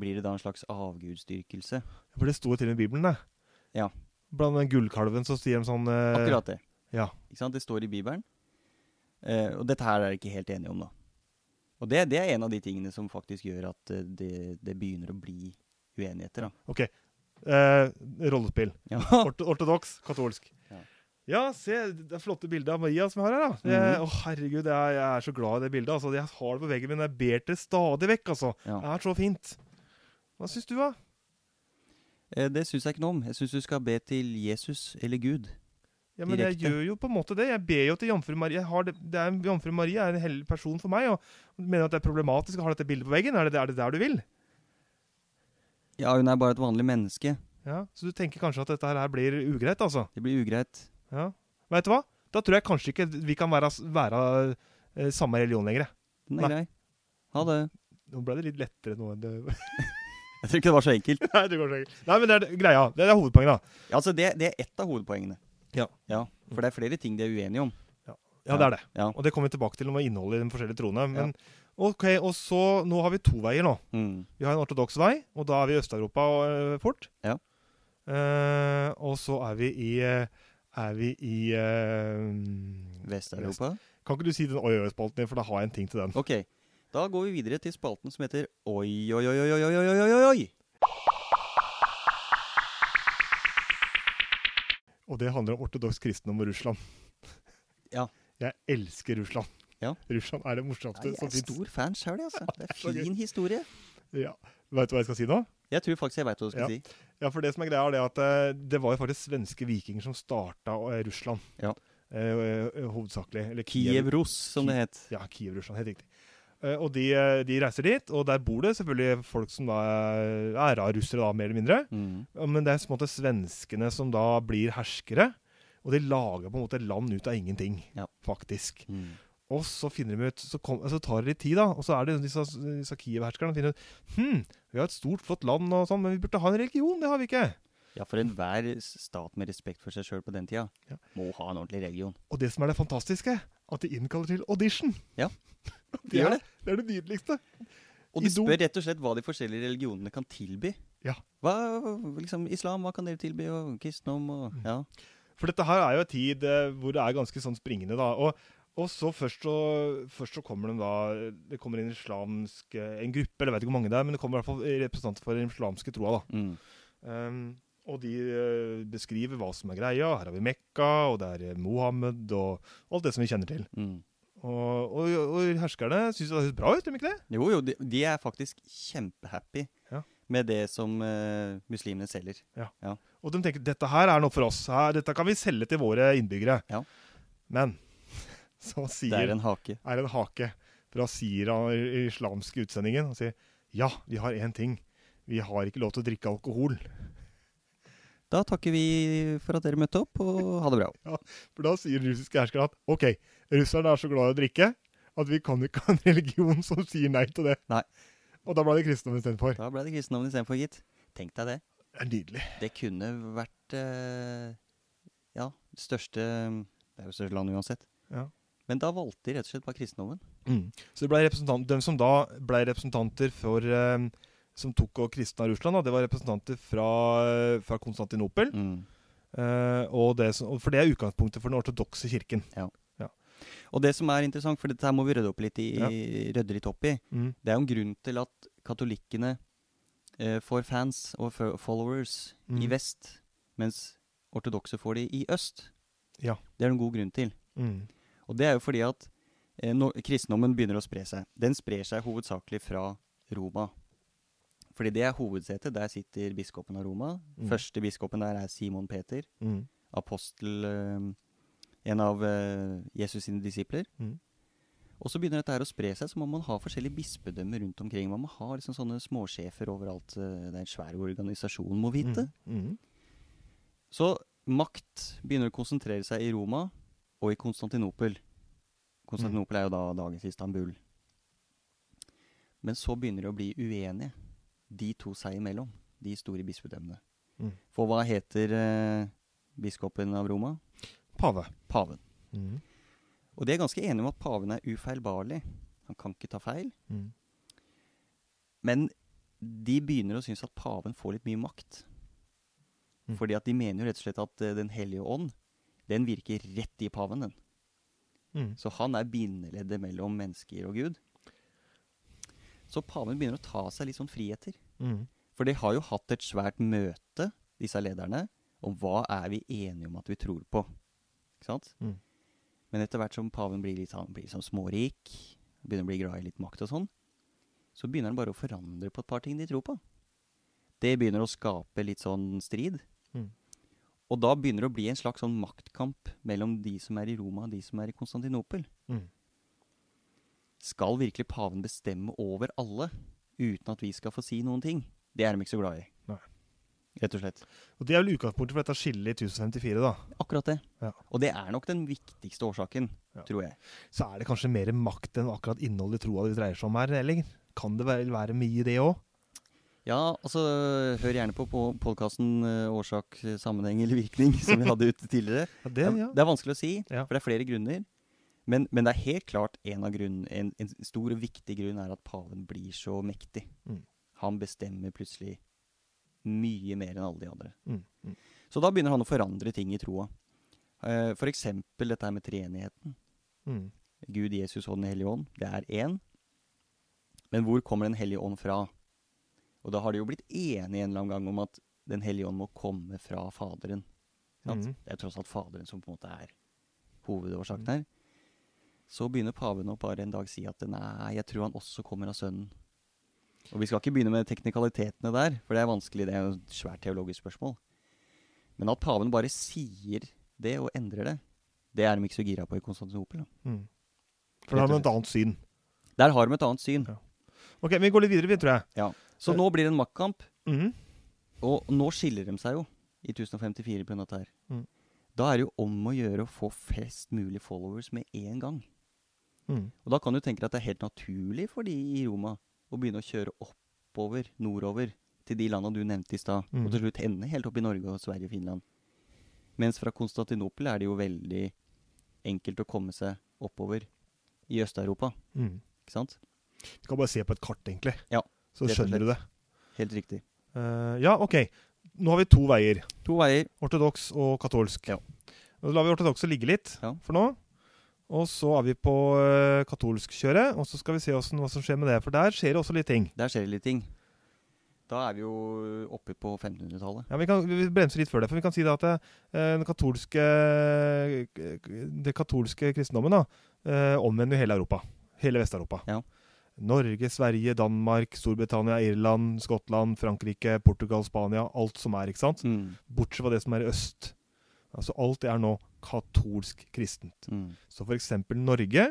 Speaker 1: Blir det da en slags avgudsdyrkelse?
Speaker 2: For det sto jo til og med i Bibelen, det.
Speaker 1: Ja.
Speaker 2: Blant den gullkalven så sier de sånn eh,
Speaker 1: Akkurat det.
Speaker 2: ja.
Speaker 1: Ikke sant? Det står i Bibelen. Eh, og dette her er de ikke helt enige om, da. Og det, det er en av de tingene som faktisk gjør at eh, det, det begynner å bli uenigheter, da.
Speaker 2: Ok. Eh, rollespill.
Speaker 1: Ja.
Speaker 2: Ort ortodoks, katolsk.
Speaker 1: Ah. Ja.
Speaker 2: Ja. se det er flotte bildet av Maria som vi har her. da. Det,
Speaker 1: Mhm.
Speaker 2: Å, herregud, jeg, er- jeg er så glad i det bildet. altså. Jeg har det på veggen min. Jeg ber til det stadig vekk. altså.
Speaker 1: Ja.
Speaker 2: Det er så fint. Hva syns du, da?
Speaker 1: Eh, det syns jeg ikke noe om. Jeg syns du skal be til Jesus eller Gud.
Speaker 2: Ja, men Jeg
Speaker 1: Direkte.
Speaker 2: gjør jo på en måte det. Jeg ber jo til Jomfru Maria. Jeg har det, det er, Jomfru Maria er en hellig person for meg. og Mener at det er problematisk å ha dette bildet på veggen? Er det, er det der du vil?
Speaker 1: Ja, hun er bare et vanlig menneske.
Speaker 2: Ja, Så du tenker kanskje at dette her blir ugreit, altså?
Speaker 1: Det blir ugreit.
Speaker 2: Ja. Vet du hva? Da tror jeg kanskje ikke vi kan være, være eh, samme religion lenger. jeg.
Speaker 1: Den er
Speaker 2: Nei.
Speaker 1: grei. Ha det.
Speaker 2: Nå ble det litt lettere nå enn det
Speaker 1: Jeg tror ikke det var så enkelt.
Speaker 2: Nei, det går så ikke. Nei, men det er det- greia. Det er hovedpoenget, da.
Speaker 1: Ja, altså det, det er ett av hovedpoengene.
Speaker 2: Ja.
Speaker 1: For det er flere ting de er uenige om.
Speaker 2: Ja, det er det.
Speaker 1: Ja.
Speaker 2: Og det kommer vi tilbake til om innholdet i de forskjellige troene. Men ok, og så Nå har vi to veier nå.
Speaker 1: Mm.
Speaker 2: Vi har en ortodoks vei, og da er vi i Øst-Europa eh, fort.
Speaker 1: Ja.
Speaker 2: Eh, og så er vi i eh, Er vi i eh,
Speaker 1: Vest-Europa.
Speaker 2: Kan ikke du si den oi-oi-spalten din, for da har jeg en ting til den.
Speaker 1: Ok. Da går vi videre til spalten som heter Oi, oi, oi, oi, oi, oi, oi, oi, oi, oi.
Speaker 2: Og det handler om ortodoks kristendom og Russland.
Speaker 1: Ja.
Speaker 2: Jeg elsker Russland.
Speaker 1: Ja.
Speaker 2: Russland er det morsomste
Speaker 1: Nei, Jeg
Speaker 2: som
Speaker 1: er
Speaker 2: fins.
Speaker 1: stor fan sjøl, jeg, altså. Det er
Speaker 2: så gøy.
Speaker 1: fin historie.
Speaker 2: Ja. Vet du hva jeg skal si nå?
Speaker 1: Jeg tror faktisk jeg veit hva du skal si.
Speaker 2: Ja, for Det som er greia er det at eh, det var jo faktisk svenske vikinger som starta eh, Russland.
Speaker 1: Ja.
Speaker 2: Eh, eh, hovedsakelig. Eller Kiev.
Speaker 1: Kiev-Russ, som det het.
Speaker 2: Ja, Kiev-Russland, helt riktig. Eh, og de, eh, de reiser dit, og der bor det selvfølgelig folk som da er- er av russere, da, mer eller mindre.
Speaker 1: Mm.
Speaker 2: Ja, Men det er på en måte svenskene som da blir herskere, og de lager på en måte land ut av ingenting,
Speaker 1: Ja.
Speaker 2: faktisk.
Speaker 1: Mm.
Speaker 2: Og så finner de ut, så, kom, så tar det litt tid da, og så er det disse, disse Kiev-herskerne som finner ut, hm, vi har et stort, flott land og sånn, men vi burde ha en religion, det har vi ikke.
Speaker 1: Ja, for enhver stat med respekt for seg sjøl på den tida
Speaker 2: Ja.
Speaker 1: må ha en ordentlig religion.
Speaker 2: Og det som er det fantastiske, at de innkaller til audition.
Speaker 1: Ja.
Speaker 2: det,
Speaker 1: gjør
Speaker 2: er, det er det nydeligste.
Speaker 1: Og de
Speaker 2: Idol-
Speaker 1: spør rett og slett hva de forskjellige religionene kan tilby.
Speaker 2: Ja.
Speaker 1: Hva, liksom, islam, hva kan dere tilby? Og kristendom og
Speaker 2: Mm.
Speaker 1: Ja.
Speaker 2: For dette her er jo en tid eh, hvor det er ganske sånn springende, da. Og, og så først så, først så kommer de da Det kommer en islamsk eh, En gruppe, eller jeg vet ikke hvor mange det er, men det kommer i hvert fall representanter for den islamske troa, da.
Speaker 1: Mm.
Speaker 2: Ehm, og de eh, beskriver hva som er greia. Her har vi Mekka, og det er eh, Mohammed, og alt det som vi kjenner til.
Speaker 1: Mm.
Speaker 2: Og, og, og herskerne syns det høres bra ut, gjør de ikke det?
Speaker 1: Jo, jo, de, de er faktisk kjempehappy
Speaker 2: Ja.
Speaker 1: med det som eh, muslimene selger.
Speaker 2: Og de tenker dette her er noe for oss. Her, dette kan vi selge til våre innbyggere.
Speaker 1: Ja.
Speaker 2: Men så sier
Speaker 1: Det er en hake.
Speaker 2: er en hake fra Sira i den islamske utsendingen og sier ja, vi har én ting. Vi har ikke lov til å drikke alkohol.
Speaker 1: Da takker vi for at dere møtte opp, og ha det bra.
Speaker 2: For da sier den russiske herskeren at ok, russerne er så glad i å drikke at vi kan ikke ha en religion som sier nei til det.
Speaker 1: Nei.
Speaker 2: Og da ble det kristendom istedenfor.
Speaker 1: Da ble det kristendommen istedenfor, gitt. Tenk deg det.
Speaker 2: Det er nydelig.
Speaker 1: Det kunne vært eh, Ja, det største Det er jo største land uansett.
Speaker 2: Ja.
Speaker 1: Men da valgte de rett og slett bare kristendommen.
Speaker 2: Mm. Så det ble representant, de som da ble representanter for eh, som tok og kristna Russland, da, det var representanter fra, fra Konstantinopel.
Speaker 1: Mm.
Speaker 2: eh, og det som, og for det er utgangspunktet for den ortodokse kirken.
Speaker 1: Og det som er interessant, for dette her må vi rydde, opp litt i, rydde litt opp i,
Speaker 2: Mm.
Speaker 1: det er jo en grunn til at katolikkene eh, får fans og fo- followers i
Speaker 2: Mhm.
Speaker 1: vest, mens ortodokse får de i øst.
Speaker 2: Ja.
Speaker 1: Det er det en god grunn til.
Speaker 2: Mm.
Speaker 1: Og det er jo fordi at eh, når kristendommen begynner å spre seg. Den sprer seg hovedsakelig fra Roma. Fordi det er hovedsetet. Der sitter biskopen av Roma.
Speaker 2: Mm.
Speaker 1: Første biskopen der er Simon Peter,
Speaker 2: Mm.
Speaker 1: apostel eh, En av eh, Jesus sine disipler.
Speaker 2: Mm.
Speaker 1: Og så begynner dette her å spre seg, så må man ha forskjellige bispedømmer rundt omkring. Man må ha liksom sånne småsjefer overalt. eh, Det er en svær organisasjon, må vite.
Speaker 2: Mm.
Speaker 1: Så makt begynner å konsentrere seg i Roma og i Konstantinopel. Konstantinopel er jo da dagens Istanbul. Men så begynner de å bli uenige, de to seg imellom, de store bispedømmene.
Speaker 2: Mm.
Speaker 1: For hva heter eh, biskopen av Roma?
Speaker 2: Pave. Mm.
Speaker 1: Paven. Og de er ganske enige om at paven er ufeilbarlig. Han kan ikke ta feil.
Speaker 2: Mm.
Speaker 1: Men de begynner å synes at paven får litt mye makt.
Speaker 2: Mm.
Speaker 1: Fordi at de mener jo rett og slett at eh, Den hellige ånd, den virker rett i paven, den.
Speaker 2: Mm.
Speaker 1: Så han er bindeleddet mellom mennesker og Gud. Så paven begynner å ta seg litt sånn friheter.
Speaker 2: Mm.
Speaker 1: For de har jo hatt et svært møte, disse lederne, om hva er vi enige om at vi tror på. Ikke sant?
Speaker 2: Mm.
Speaker 1: Men etter hvert som paven blir litt sånn, blir sånn smårik, begynner å bli glad i litt makt og sånn, så begynner han bare å forandre på et par ting de tror på. Det begynner å skape litt sånn strid.
Speaker 2: Mm.
Speaker 1: Og da begynner det å bli en slags sånn maktkamp mellom de som er i Roma og de som er i Konstantinopel.
Speaker 2: Mm.
Speaker 1: Skal virkelig paven bestemme over alle uten at vi skal få si noen ting? Det er de ikke så glad i.
Speaker 2: Nei.
Speaker 1: Rett og slett.
Speaker 2: Og det er vel utgangspunktet for dette skillet i 1054, da.
Speaker 1: Akkurat det.
Speaker 2: Ja.
Speaker 1: Og det er nok den viktigste årsaken,
Speaker 2: Ja.
Speaker 1: tror jeg.
Speaker 2: Så er det kanskje mer makt enn akkurat innholdet i troa det dreier seg om her, eller? Kan det vel være mye i det òg?
Speaker 1: Ja, altså, hør gjerne på, på podkasten Årsak, sammenheng eller virkning, som vi hadde ute tidligere.
Speaker 2: Ja, det,
Speaker 1: Det er-
Speaker 2: ja.
Speaker 1: Det er vanskelig å si,
Speaker 2: Ja.
Speaker 1: for det er flere grunner. Men, men det er helt klart en, av grunnen, en, en stor og viktig grunn er at paven blir så mektig.
Speaker 2: Mm.
Speaker 1: Han bestemmer plutselig mye mer enn alle de andre.
Speaker 2: Mm. Mm.
Speaker 1: Så da begynner han å forandre ting i troa. Eh, For eksempel dette her med treenigheten.
Speaker 2: Mm.
Speaker 1: Gud, Jesus og Den hellige ånd. Det er én. Men hvor kommer Den hellige ånd fra? Og da har de jo blitt enige en eller annen gang om at Den hellige ånd må komme fra Faderen. Sant?
Speaker 2: Mhm.
Speaker 1: Det er tross alt Faderen som på en måte er hovedårsaken her. Så begynner paven å bare en dag si at nei, jeg tror han også kommer av Sønnen. Og vi skal ikke begynne med teknikalitetene der, for det er vanskelig, det er jo et svært teologisk spørsmål. Men at paven bare sier det og endrer det, Det er de ikke så gira på i Konstantinopel. da.
Speaker 2: Mm. For da har
Speaker 1: Rett og
Speaker 2: man et annet syn.
Speaker 1: Der har de et annet syn.
Speaker 2: Ok, Vi går litt videre, vi, tror jeg.
Speaker 1: Så nå blir det en maktkamp.
Speaker 2: Mhm.
Speaker 1: Og nå skiller de seg jo i 1054 på dette her.
Speaker 2: Mm.
Speaker 1: Da er det jo om å gjøre å få flest mulig followers med en gang.
Speaker 2: Mhm.
Speaker 1: Og da kan du tenke deg at det er helt naturlig for de i Roma å begynne å kjøre oppover, nordover, til de landa du nevnte i stad.
Speaker 2: Mm.
Speaker 1: Og til slutt ende helt opp i Norge og Sverige og Finland. Mens fra Konstantinopel er det jo veldig enkelt å komme seg oppover i Øst-Europa.
Speaker 2: Mhm.
Speaker 1: Ikke sant?
Speaker 2: Du kan bare se på et kart, egentlig.
Speaker 1: Ja,
Speaker 2: Så
Speaker 1: rett og
Speaker 2: skjønner du det.
Speaker 1: Helt riktig.
Speaker 2: Eh, ja, OK. Nå har vi to veier.
Speaker 1: To veier.
Speaker 2: Ortodoks og katolsk.
Speaker 1: Ja.
Speaker 2: Nå lar vi ortodokse ligge litt
Speaker 1: Ja.
Speaker 2: for nå. Og så er vi på uh, katolskkjøret, og så skal vi se hvordan, hva som skjer med det. For der skjer det også litt ting.
Speaker 1: Der skjer det litt ting. Da er vi jo oppe på 1500-tallet.
Speaker 2: Ja, vi, kan, vi bremser litt før det, for vi kan si det at det, eh, den katolske, det katolske kristendommen da, eh, omvender jo hele Europa. Hele Vest-Europa.
Speaker 1: Ja.
Speaker 2: Norge, Sverige, Danmark, Storbritannia, Irland, Skottland, Frankrike, Portugal, Spania. Alt som er, ikke sant?
Speaker 1: Mm.
Speaker 2: Bortsett fra det som er i øst. Altså alt det er nå katolsk kristent.
Speaker 1: Mm.
Speaker 2: Så for eksempel Norge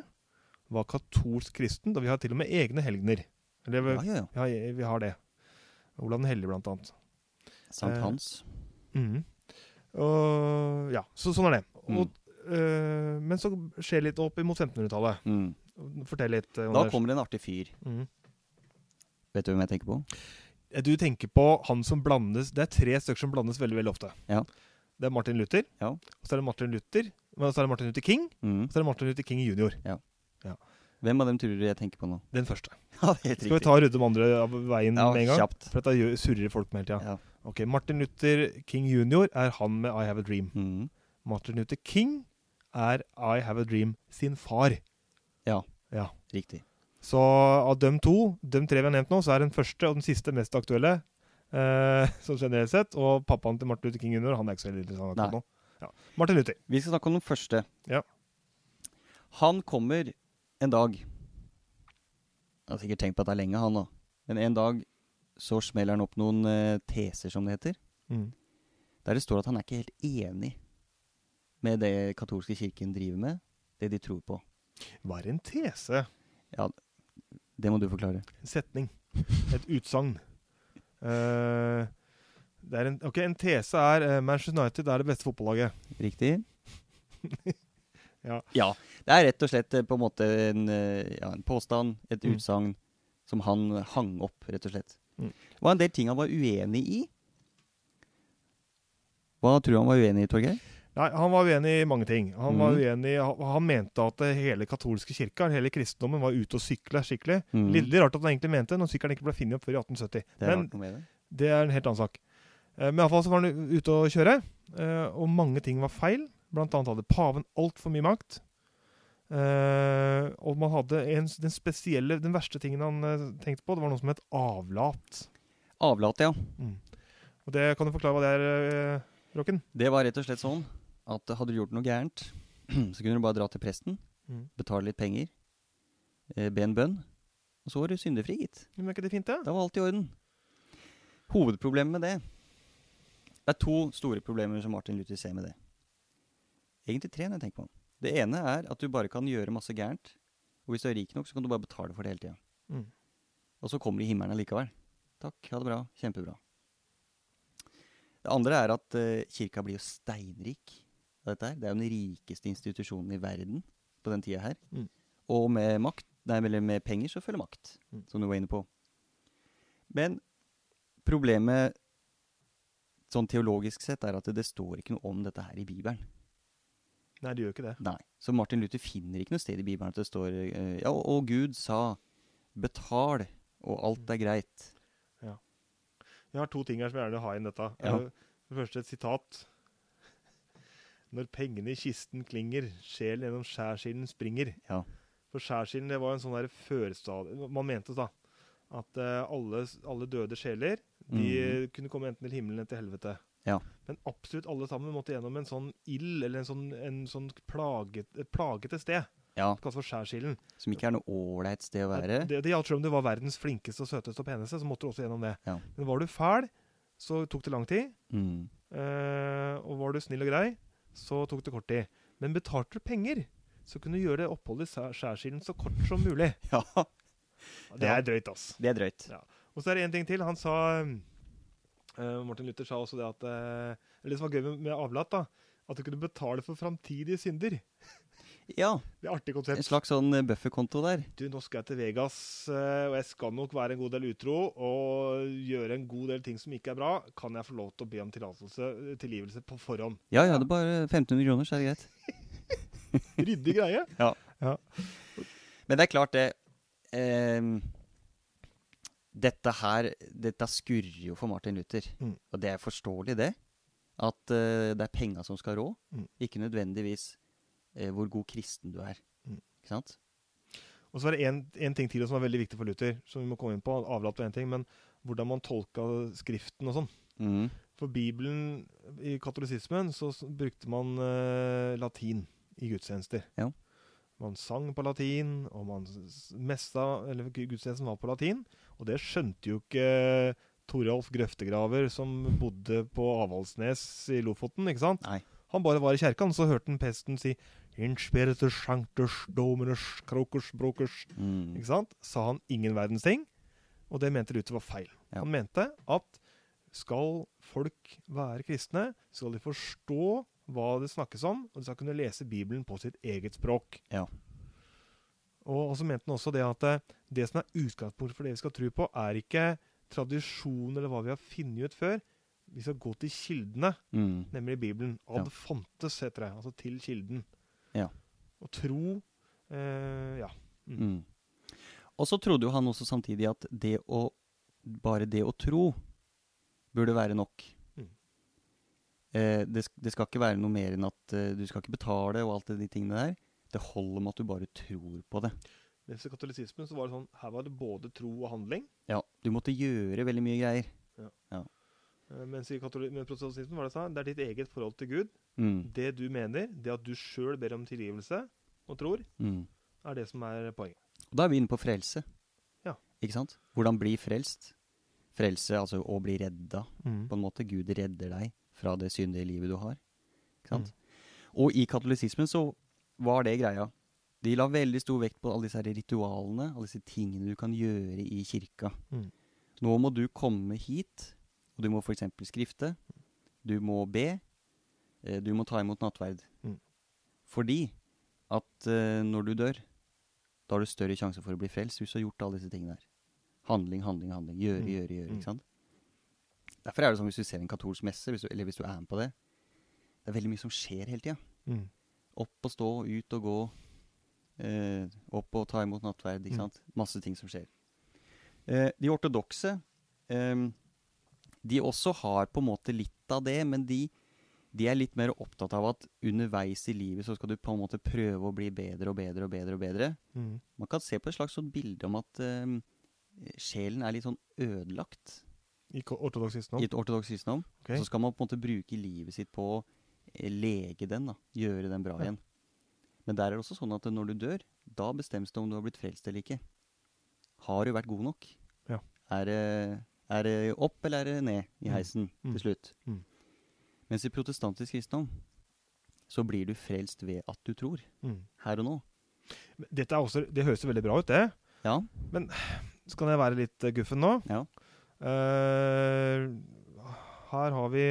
Speaker 2: var katolsk kristen, da vi har til og med egne helgener. Eller vi,
Speaker 1: Ja, ja, ja.
Speaker 2: vi, har, vi har det. Olav den hellige, blant annet.
Speaker 1: Sankt
Speaker 2: Eh,
Speaker 1: Hans.
Speaker 2: Mm. Og, ja, så sånn er det. Og,
Speaker 1: Mm.
Speaker 2: øh, men så skjer litt opp imot 1500-tallet.
Speaker 1: Mm.
Speaker 2: Fortell litt. eh,
Speaker 1: Da
Speaker 2: Anders.
Speaker 1: kommer det en artig fyr.
Speaker 2: Mhm.
Speaker 1: Vet du hvem jeg tenker på?
Speaker 2: Du tenker på han som blandes Det er tre stykker som blandes veldig veldig ofte.
Speaker 1: Ja.
Speaker 2: Det er Martin Luther,
Speaker 1: Ja.
Speaker 2: og så er det Martin Luther, men så er det Martin Luther King,
Speaker 1: Mm.
Speaker 2: og så er det Martin Luther King jr.
Speaker 1: Hvem av dem tror du jeg tenker på nå?
Speaker 2: Den første.
Speaker 1: Ja, det er helt
Speaker 2: Skal vi ta og rydde de andre av veien
Speaker 1: ja,
Speaker 2: med en gang?
Speaker 1: Kjapt.
Speaker 2: For dette gjør- surrer folk med hele tida.
Speaker 1: Ja.
Speaker 2: Ok, Martin Luther King jr. er han med I Have a Dream.
Speaker 1: Mm.
Speaker 2: Martin Luther King er I Have a Dream sin far.
Speaker 1: Riktig.
Speaker 2: Så av dem to, dem tre vi har nevnt nå, så er den første og den siste mest aktuelle. Eh, som generelt sett, Og pappaen til Martin Luther King jr. han er ikke så veldig interessant akkurat
Speaker 1: Nei.
Speaker 2: nå. Ja. Martin Luther.
Speaker 1: Vi skal snakke om den første.
Speaker 2: Ja.
Speaker 1: Han kommer en dag Jeg har sikkert tenkt på dette lenge, han da. Men en dag så smeller han opp noen eh, teser, som det heter.
Speaker 2: Mm.
Speaker 1: Der det står at han er ikke helt enig med det katolske kirken driver med, det de tror på.
Speaker 2: Var en tese.
Speaker 1: Det må du forklare.
Speaker 2: En setning. Et utsagn. Eh, det er en, ok, en tese er eh, Manchester United er det beste fotballaget.
Speaker 1: Riktig?
Speaker 2: Ja.
Speaker 1: Det er rett og slett eh, på en måte en, eh, ja, en påstand, et
Speaker 2: Mm.
Speaker 1: utsagn, som han eh, hang opp, rett og slett.
Speaker 2: Mm.
Speaker 1: Det var en del ting han var uenig i. Hva tror du han var uenig i, Torgeir?
Speaker 2: Nei, Han var uenig i mange ting. Han, var
Speaker 1: Mhm.
Speaker 2: uenig, i- han han mente at det hele katolske kirka, hele kristendommen, var ute og sykla skikkelig.
Speaker 1: Mm.
Speaker 2: Litt rart at han egentlig mente det, når sykkelen ikke ble funnet opp før i 1870.
Speaker 1: Det er
Speaker 2: Men
Speaker 1: rart noe med det.
Speaker 2: det er en helt annen sak. Eh, Men iallfall så var han u- ute og kjøre, eh, og mange ting var feil. Blant annet hadde paven altfor mye makt. Eh, og man hadde en, den spesielle, den verste tingen han eh, tenkte på, det var noe som het avlat. Mm.
Speaker 1: Avlat, ja.
Speaker 2: Og det kan du forklare hva det er, eh, Rocken?
Speaker 1: Det var rett og slett sånn at hadde du gjort noe gærent, så kunne du bare dra til presten,
Speaker 2: Mm.
Speaker 1: betale litt penger, eh, be en bønn, og så var du syndefri, gitt.
Speaker 2: Men er ikke det fint, det?
Speaker 1: Da var alt i orden. Hovedproblemet med det Det er to store problemer som Martin Luther ser med det. Egentlig tre, når jeg tenker på det. Det ene er at du bare kan gjøre masse gærent. Og hvis du er rik nok, så kan du bare betale for det hele tida.
Speaker 2: Mm.
Speaker 1: Og så kommer de i himmelen allikevel. Takk, ha det bra. Kjempebra. Det andre er at eh, kirka blir jo steinrik av dette her. Det er jo den rikeste institusjonen i verden på den tida her.
Speaker 2: Mm.
Speaker 1: Og med, makt, nei, eller med penger så følger makt,
Speaker 2: Mm.
Speaker 1: som du var inne på. Men problemet sånn teologisk sett er at det, det står ikke noe om dette her i Bibelen.
Speaker 2: Nei, det gjør ikke det.
Speaker 1: Nei. Så Martin Luther finner ikke noe sted i Bibelen at det står eh, Ja, og Gud sa 'betal', og alt er greit.
Speaker 2: Jeg har to ting her som jeg gjerne vil ha inn dette.
Speaker 1: Ja.
Speaker 2: Eh, Det første et sitat. Når pengene i kisten klinger, sjelen gjennom skjærsilden springer.
Speaker 1: Ja.
Speaker 2: For skjærsilden det var en sånn der førstad... Man mente da at eh, alle, alle døde sjeler de
Speaker 1: Mhm.
Speaker 2: eh, kunne komme enten til himmelen eller til helvete.
Speaker 1: Ja.
Speaker 2: Men absolutt alle sammen måtte gjennom en sånn ild, eller en sånn, en sånn plaget, et plagete sted.
Speaker 1: Ja,
Speaker 2: Kalt for skjærsilden.
Speaker 1: Som ikke er noe ålreit sted å være.
Speaker 2: Det, det gjaldt selv om du var verdens flinkeste og søteste og peneste, så måtte du også gjennom det.
Speaker 1: Ja.
Speaker 2: Men var du fæl, så tok det lang tid.
Speaker 1: Mm.
Speaker 2: Eh, og var du snill og grei, så tok det kort tid. Men betalte du penger, så kunne du gjøre det oppholdet i skjær- skjærsilden så kort som mulig.
Speaker 1: Ja,
Speaker 2: Det
Speaker 1: Ja.
Speaker 2: er drøyt, ass.
Speaker 1: det er drøyt.
Speaker 2: Og så er det én ting til. Han sa eh, Martin Luther sa også det at eh, Eller det som var gøy med, med avlat, da. At du kunne betale for framtidige synder.
Speaker 1: Ja,
Speaker 2: Det er et artig
Speaker 1: en
Speaker 2: konsept.
Speaker 1: slags sånn eh, bufferkonto der.
Speaker 2: Du, nå skal jeg til Vegas, eh, og jeg skal nok være en god del utro og gjøre en god del ting som ikke er bra. Kan jeg få lov til å be om tillatelse, eh, tilgivelse på forhånd?
Speaker 1: Ja, ja, det er bare 1500 kroner, så er det greit.
Speaker 2: Ryddig greie.
Speaker 1: Men det er klart, det ehm, Dette her Dette skurrer jo for Martin Luther.
Speaker 2: Mm.
Speaker 1: Og det er forståelig, det. At eh, det er penga som skal rå.
Speaker 2: Mm.
Speaker 1: Ikke nødvendigvis eh, hvor god kristen du er.
Speaker 2: Mm.
Speaker 1: Ikke sant?
Speaker 2: Og så er det én ting til som er veldig viktig for Luther, som vi må komme inn på. Avlat var en ting, men hvordan man tolka Skriften og sånn.
Speaker 1: Mhm.
Speaker 2: For Bibelen, i katolisismen, så s- brukte man eh, latin i gudstjenester.
Speaker 1: Ja.
Speaker 2: Man sang på latin, og man s- messa, eller gu- gudstjenesten var på latin. Og det skjønte jo ikke eh, Toralf Grøftegraver, som bodde på Avaldsnes i Lofoten. ikke sant?
Speaker 1: Nei.
Speaker 2: Han bare var i kjerka, og så hørte han presten si «In spiritus sanctus dominus crocus brocus».
Speaker 1: Mm.
Speaker 2: Ikke sant? Sa han ingen verdens ting, og det mente Luther var feil.
Speaker 1: Ja.
Speaker 2: Han mente at skal folk være kristne, skal de forstå hva det snakkes om, og de skal kunne lese Bibelen på sitt eget språk.
Speaker 1: Ja.
Speaker 2: Og og så mente han også det at eh, det som er utgangspunktet for det vi skal tro på, er ikke tradisjon eller hva vi har funnet ut før. Vi skal gå til kildene,
Speaker 1: Mm.
Speaker 2: nemlig Bibelen.
Speaker 1: Ja.
Speaker 2: Ad fontes, heter det. Altså til kilden.
Speaker 1: Ja.
Speaker 2: Og tro eh, Ja.
Speaker 1: Mm. Og så trodde jo han også samtidig at det å bare det å tro burde være nok.
Speaker 2: Mm.
Speaker 1: Eh, det, sk- det skal ikke være noe mer enn at eh, du skal ikke betale og alt det de tingene der. Det holder med at du bare tror på det.
Speaker 2: Mens i katolisismen så var det sånn her var det både tro og handling.
Speaker 1: Ja, Du måtte gjøre veldig mye greier.
Speaker 2: Eh, Mens i katoli- men protestantismen var det sånn det er ditt eget forhold til Gud.
Speaker 1: Mm.
Speaker 2: Det du mener, det at du sjøl ber om tilgivelse og tror,
Speaker 1: Mm.
Speaker 2: er det som er poenget.
Speaker 1: Og da er vi inne på frelse.
Speaker 2: Ja.
Speaker 1: Ikke sant? Hvordan bli frelst. Frelse, altså å bli redda.
Speaker 2: Mm.
Speaker 1: på en måte. Gud redder deg fra det syndige livet du har. Ikke sant?
Speaker 2: Mm.
Speaker 1: Og i katolisismen så var det greia. De la veldig stor vekt på alle disse her ritualene, alle disse tingene du kan gjøre i kirka.
Speaker 2: Mm.
Speaker 1: Nå må du komme hit, og du må f.eks. skrifte. Du må be. eh, Du må ta imot nattverd.
Speaker 2: Mm.
Speaker 1: Fordi at eh, når du dør, da har du større sjanse for å bli frelst hvis du har gjort alle disse tingene her. Handling, handling, handling. Gjøre,
Speaker 2: Mm.
Speaker 1: gjøre, gjøre.
Speaker 2: Mm.
Speaker 1: ikke sant? Derfor er det sånn hvis du ser en katolsk messe, hvis du, eller hvis du er med på det Det er veldig mye som skjer hele tida.
Speaker 2: Mm.
Speaker 1: Opp og stå, ut og gå. Eh, opp og ta imot nattverd. ikke
Speaker 2: Mm.
Speaker 1: sant? Masse ting som skjer. Eh, de ortodokse eh, De også har på en måte litt av det, men de, de er litt mer opptatt av at underveis i livet så skal du på en måte prøve å bli bedre og bedre og bedre. og bedre.
Speaker 2: Mm.
Speaker 1: Man kan se på et slags sånn bilde om at eh, sjelen er litt sånn ødelagt
Speaker 2: I ko- ortodoks
Speaker 1: i
Speaker 2: kristendom.
Speaker 1: et ortodoks kristendom.
Speaker 2: Ok.
Speaker 1: Så skal man på en måte bruke livet sitt på å eh, lege den, da. gjøre den bra
Speaker 2: Ja.
Speaker 1: igjen. Men der er det også sånn at når du dør, da bestemmes det om du har blitt frelst eller ikke. Har du vært god nok?
Speaker 2: Ja.
Speaker 1: Er, det- er det opp eller er det ned i
Speaker 2: Mm.
Speaker 1: heisen
Speaker 2: Mm.
Speaker 1: til slutt?
Speaker 2: Mm.
Speaker 1: Mens i protestantisk kristendom så blir du frelst ved at du tror.
Speaker 2: Mm.
Speaker 1: Her og nå.
Speaker 2: Men Dette er også, det høres jo veldig bra ut, det.
Speaker 1: Ja.
Speaker 2: Så kan jeg være litt eh, guffen nå.
Speaker 1: Ja.
Speaker 2: Eh, her har vi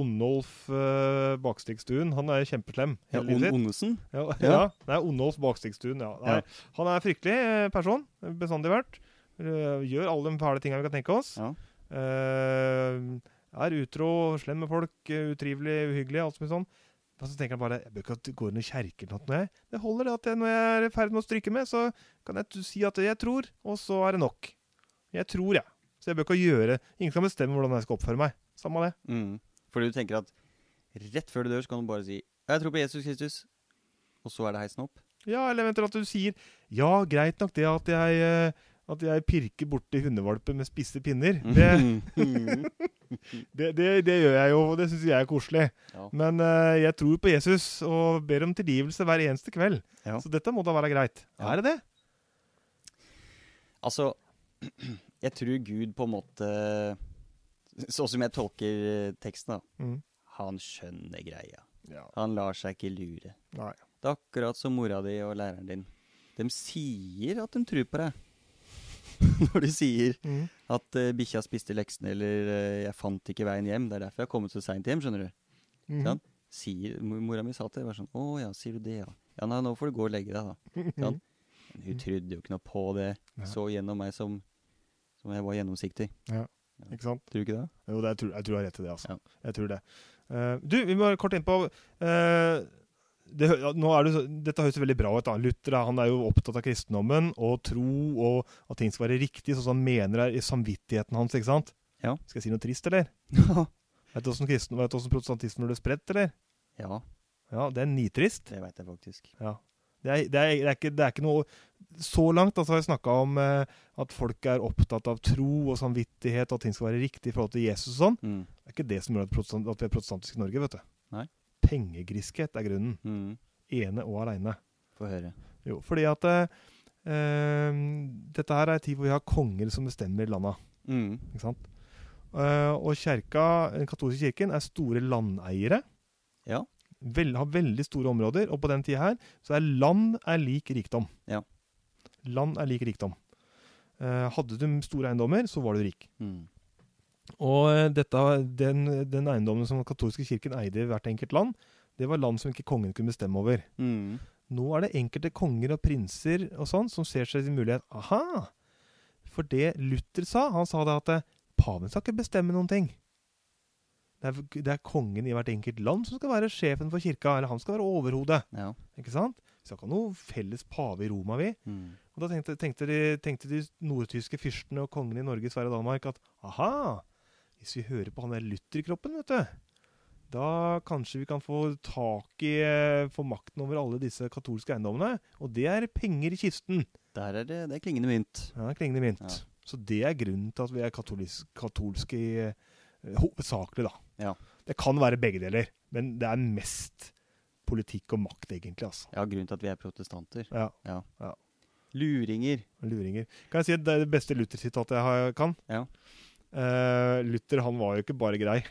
Speaker 2: Ondolf eh, Bakstigstuen. Han er kjempeslem.
Speaker 1: ja
Speaker 2: hele livet
Speaker 1: on
Speaker 2: sitt.
Speaker 1: Ondesen.
Speaker 2: Ja,
Speaker 1: Ja.
Speaker 2: ja. Nei, Ondolf Bakstigstuen, ja. Nei,
Speaker 1: Ja.
Speaker 2: Han er fryktelig eh, person, bestandig vært. Eh, Gjør alle de fæle tingene vi kan tenke oss.
Speaker 1: Ja.
Speaker 2: Eh, er utro, slem med folk, eh, utrivelig, uhyggelig, alt som er sånn. Men så tenker jeg bare jeg bør ikke at det går inn i kjerken. eller noe. Det holder det at jeg, når jeg er i ferd med å stryke med, så kan jeg t- si at jeg tror, og så er det nok. Jeg tror, jeg. Så jeg bør ikke gjøre Ingen kan bestemme hvordan jeg skal oppføre meg. Samme det.
Speaker 1: Mm. Fordi du tenker at rett før du dør, så kan du bare si 'Jeg tror på Jesus Kristus', og så er det heisen opp.
Speaker 2: Ja, eller eventuelt at du sier Ja, greit nok det at jeg, eh, at jeg pirker borti hundevalper med spisse pinner. Det,
Speaker 1: Mhm.
Speaker 2: det, det, det gjør jeg jo, og det syns jeg er koselig.
Speaker 1: ja.
Speaker 2: Men eh, jeg tror på Jesus og ber om tilgivelse hver eneste kveld.
Speaker 1: Ja.
Speaker 2: Så dette må da være greit.
Speaker 1: Ja.
Speaker 2: Er det det?
Speaker 1: Altså, jeg tror Gud på en måte Sånn som jeg tolker eh, teksten, da.
Speaker 2: Mm.
Speaker 1: Han skjønner greia.
Speaker 2: Ja.
Speaker 1: Han lar seg ikke lure.
Speaker 2: Nei.
Speaker 1: Det er akkurat som mora di og læreren din. De sier at de tror på deg. Når du sier
Speaker 2: Mhm.
Speaker 1: at eh, bikkja spiste leksene eller eh, 'jeg fant ikke veien hjem', det er derfor jeg har kommet så seint hjem, skjønner du.
Speaker 2: Mhm.
Speaker 1: Sant? Sier, mo- mora mi sa til meg sånn 'Å ja, sier du det, ja'. Ja, nei, nå får du gå og legge deg, da. Sant? Men hun trodde jo ikke noe på det.
Speaker 2: Nei.
Speaker 1: Så gjennom meg som, som jeg var gjennomsiktig.
Speaker 2: Mm. Ikke sant?
Speaker 1: Tror du ikke det?
Speaker 2: Jo, det, jeg, tror, jeg tror jeg har rett til det, altså.
Speaker 1: Ja.
Speaker 2: Jeg tror det. Eh, du, vi må kort innpå eh, det, hø- ja, nå er det, så- Dette høres jo veldig bra ut. da. Luther han er jo opptatt av kristendommen og tro, og at ting skal være riktig, sånn som han mener er i samvittigheten hans. ikke sant?
Speaker 1: Ja.
Speaker 2: Skal jeg si noe trist, eller? Vet du hvordan, kristen, vet du hvordan protestantismen ble spredt, eller?
Speaker 1: ja,
Speaker 2: Ja, det er nitrist.
Speaker 1: det veit jeg faktisk.
Speaker 2: Det er, det, er, det, er ikke, det er ikke noe Så langt altså, har jeg snakka om eh, at folk er opptatt av tro og samvittighet, og at ting skal være riktig i forhold til Jesus og sånn.
Speaker 1: Mm.
Speaker 2: Det er ikke det som gjør at, protestant, at vi er protestantiske i Norge, vet du.
Speaker 1: Nei.
Speaker 2: Pengegriskhet er grunnen.
Speaker 1: Mm.
Speaker 2: Ene og aleine.
Speaker 1: Få høre.
Speaker 2: Jo, fordi at eh, eh, dette her er en tid hvor vi har konger som bestemmer landa.
Speaker 1: Mm.
Speaker 2: Ikke sant? Eh, og kjerka, den katolske kirken er store landeiere.
Speaker 1: Ja.
Speaker 2: Vel, har veldig store områder. Og på den tida her så er land er lik rikdom.
Speaker 1: Ja.
Speaker 2: Land er lik rikdom. Eh, hadde du store eiendommer, så var du rik.
Speaker 1: Mm.
Speaker 2: Og eh, dette, den, den eiendommen som den katolske kirken eide i hvert enkelt land, det var land som ikke kongen kunne bestemme over.
Speaker 1: Mm.
Speaker 2: Nå er det enkelte konger og prinser og sånn som ser seg sin mulighet. Aha! For det Luther sa, han sa det at eh, paven skal ikke bestemme noen ting. Det er, det er kongen i hvert enkelt land som skal være sjefen for kirka, eller han skal være overhodet.
Speaker 1: Ja.
Speaker 2: Ikke sant? Vi skal ikke ha noe felles pave i Roma, vi.
Speaker 1: Mm.
Speaker 2: Og da tenkte, tenkte, de, tenkte de nordtyske fyrstene og kongene i Norge, Sverige og Danmark at aha, hvis vi hører på han der Luther-kroppen, vet du, da kanskje vi kan få tak i eh, få makten over alle disse katolske eiendommene. Og det er penger i kisten.
Speaker 1: Der er det, det er klingende mynt.
Speaker 2: Ja, klingende mynt.
Speaker 1: Ja.
Speaker 2: Så det er grunnen til at vi er katolis, katolske i, eh, hovedsakelig, da.
Speaker 1: Ja.
Speaker 2: Det kan være begge deler, men det er mest politikk og makt, egentlig, altså.
Speaker 1: Ja, grunnen til at vi er protestanter.
Speaker 2: Ja,
Speaker 1: Luringer.
Speaker 2: Luringer. Kan jeg si at det er det beste Luther-sitatet jeg har- kan?
Speaker 1: Ja.
Speaker 2: Eh, Luther han var jo ikke bare grei.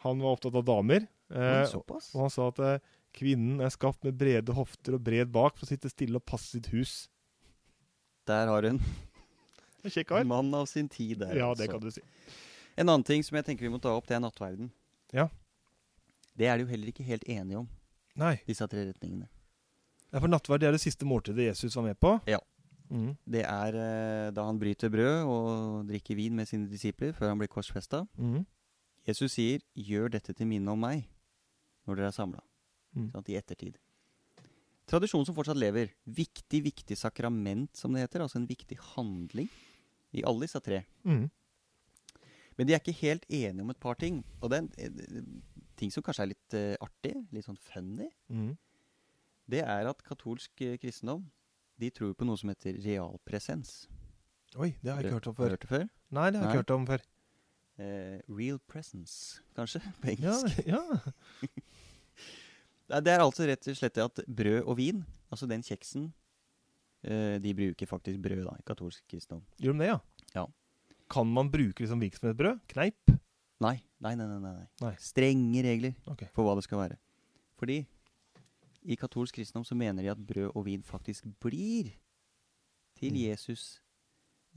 Speaker 2: Han var opptatt av damer. eh,
Speaker 1: Oi, såpass?
Speaker 2: og han sa at eh, kvinnen er skapt med brede hofter og bred bak for å sitte stille og passe sitt hus.
Speaker 1: Der har hun.
Speaker 2: En Kjekk kar.
Speaker 1: Mann av sin tid der.
Speaker 2: Ja, det
Speaker 1: altså.
Speaker 2: kan du si.
Speaker 1: En annen ting som jeg tenker vi må ta opp, det er nattverden.
Speaker 2: Ja.
Speaker 1: Det er de jo heller ikke helt enige om,
Speaker 2: Nei,
Speaker 1: disse tre retningene.
Speaker 2: det er for nattverd det er det siste måltidet Jesus var med på.
Speaker 1: Ja.
Speaker 2: Mhm.
Speaker 1: Det er eh, da han bryter brød og drikker vin med sine disipler før han blir korsfesta.
Speaker 2: Mhm.
Speaker 1: Jesus sier 'gjør dette til minne om meg' når dere er samla.
Speaker 2: Mm.
Speaker 1: I ettertid. Tradisjon som fortsatt lever. Viktig, viktig sakrament, som det heter. Altså en viktig handling i alle disse tre.
Speaker 2: Mhm.
Speaker 1: Men de er ikke helt enige om et par ting. Og det er en en ting som kanskje er litt eh, artig, litt sånn funny,
Speaker 2: Mhm.
Speaker 1: det er at katolsk eh, kristendom de tror på noe som heter realpresens.
Speaker 2: Oi, det har jeg ikke hørt om før.
Speaker 1: Hørt det før?
Speaker 2: Nei, det har
Speaker 1: Nei.
Speaker 2: jeg ikke hørt om før.
Speaker 1: Eh, real presence, kanskje, på
Speaker 2: Ja,
Speaker 1: engelsk.
Speaker 2: ja.
Speaker 1: Nei, Det er altså rett og slett det at brød og vin, altså den kjeksen eh, De bruker faktisk brød, da, i katolsk kristendom.
Speaker 2: Gjør de det, ja?
Speaker 1: Ja.
Speaker 2: Kan man bruke det som virksomhetsbrød? Kneip?
Speaker 1: Nei, nei, nei. nei, nei.
Speaker 2: Nei.
Speaker 1: Strenge regler
Speaker 2: Ok.
Speaker 1: for hva det skal være. Fordi i katolsk kristendom så mener de at brød og vin faktisk blir til
Speaker 2: Mm.
Speaker 1: Jesus,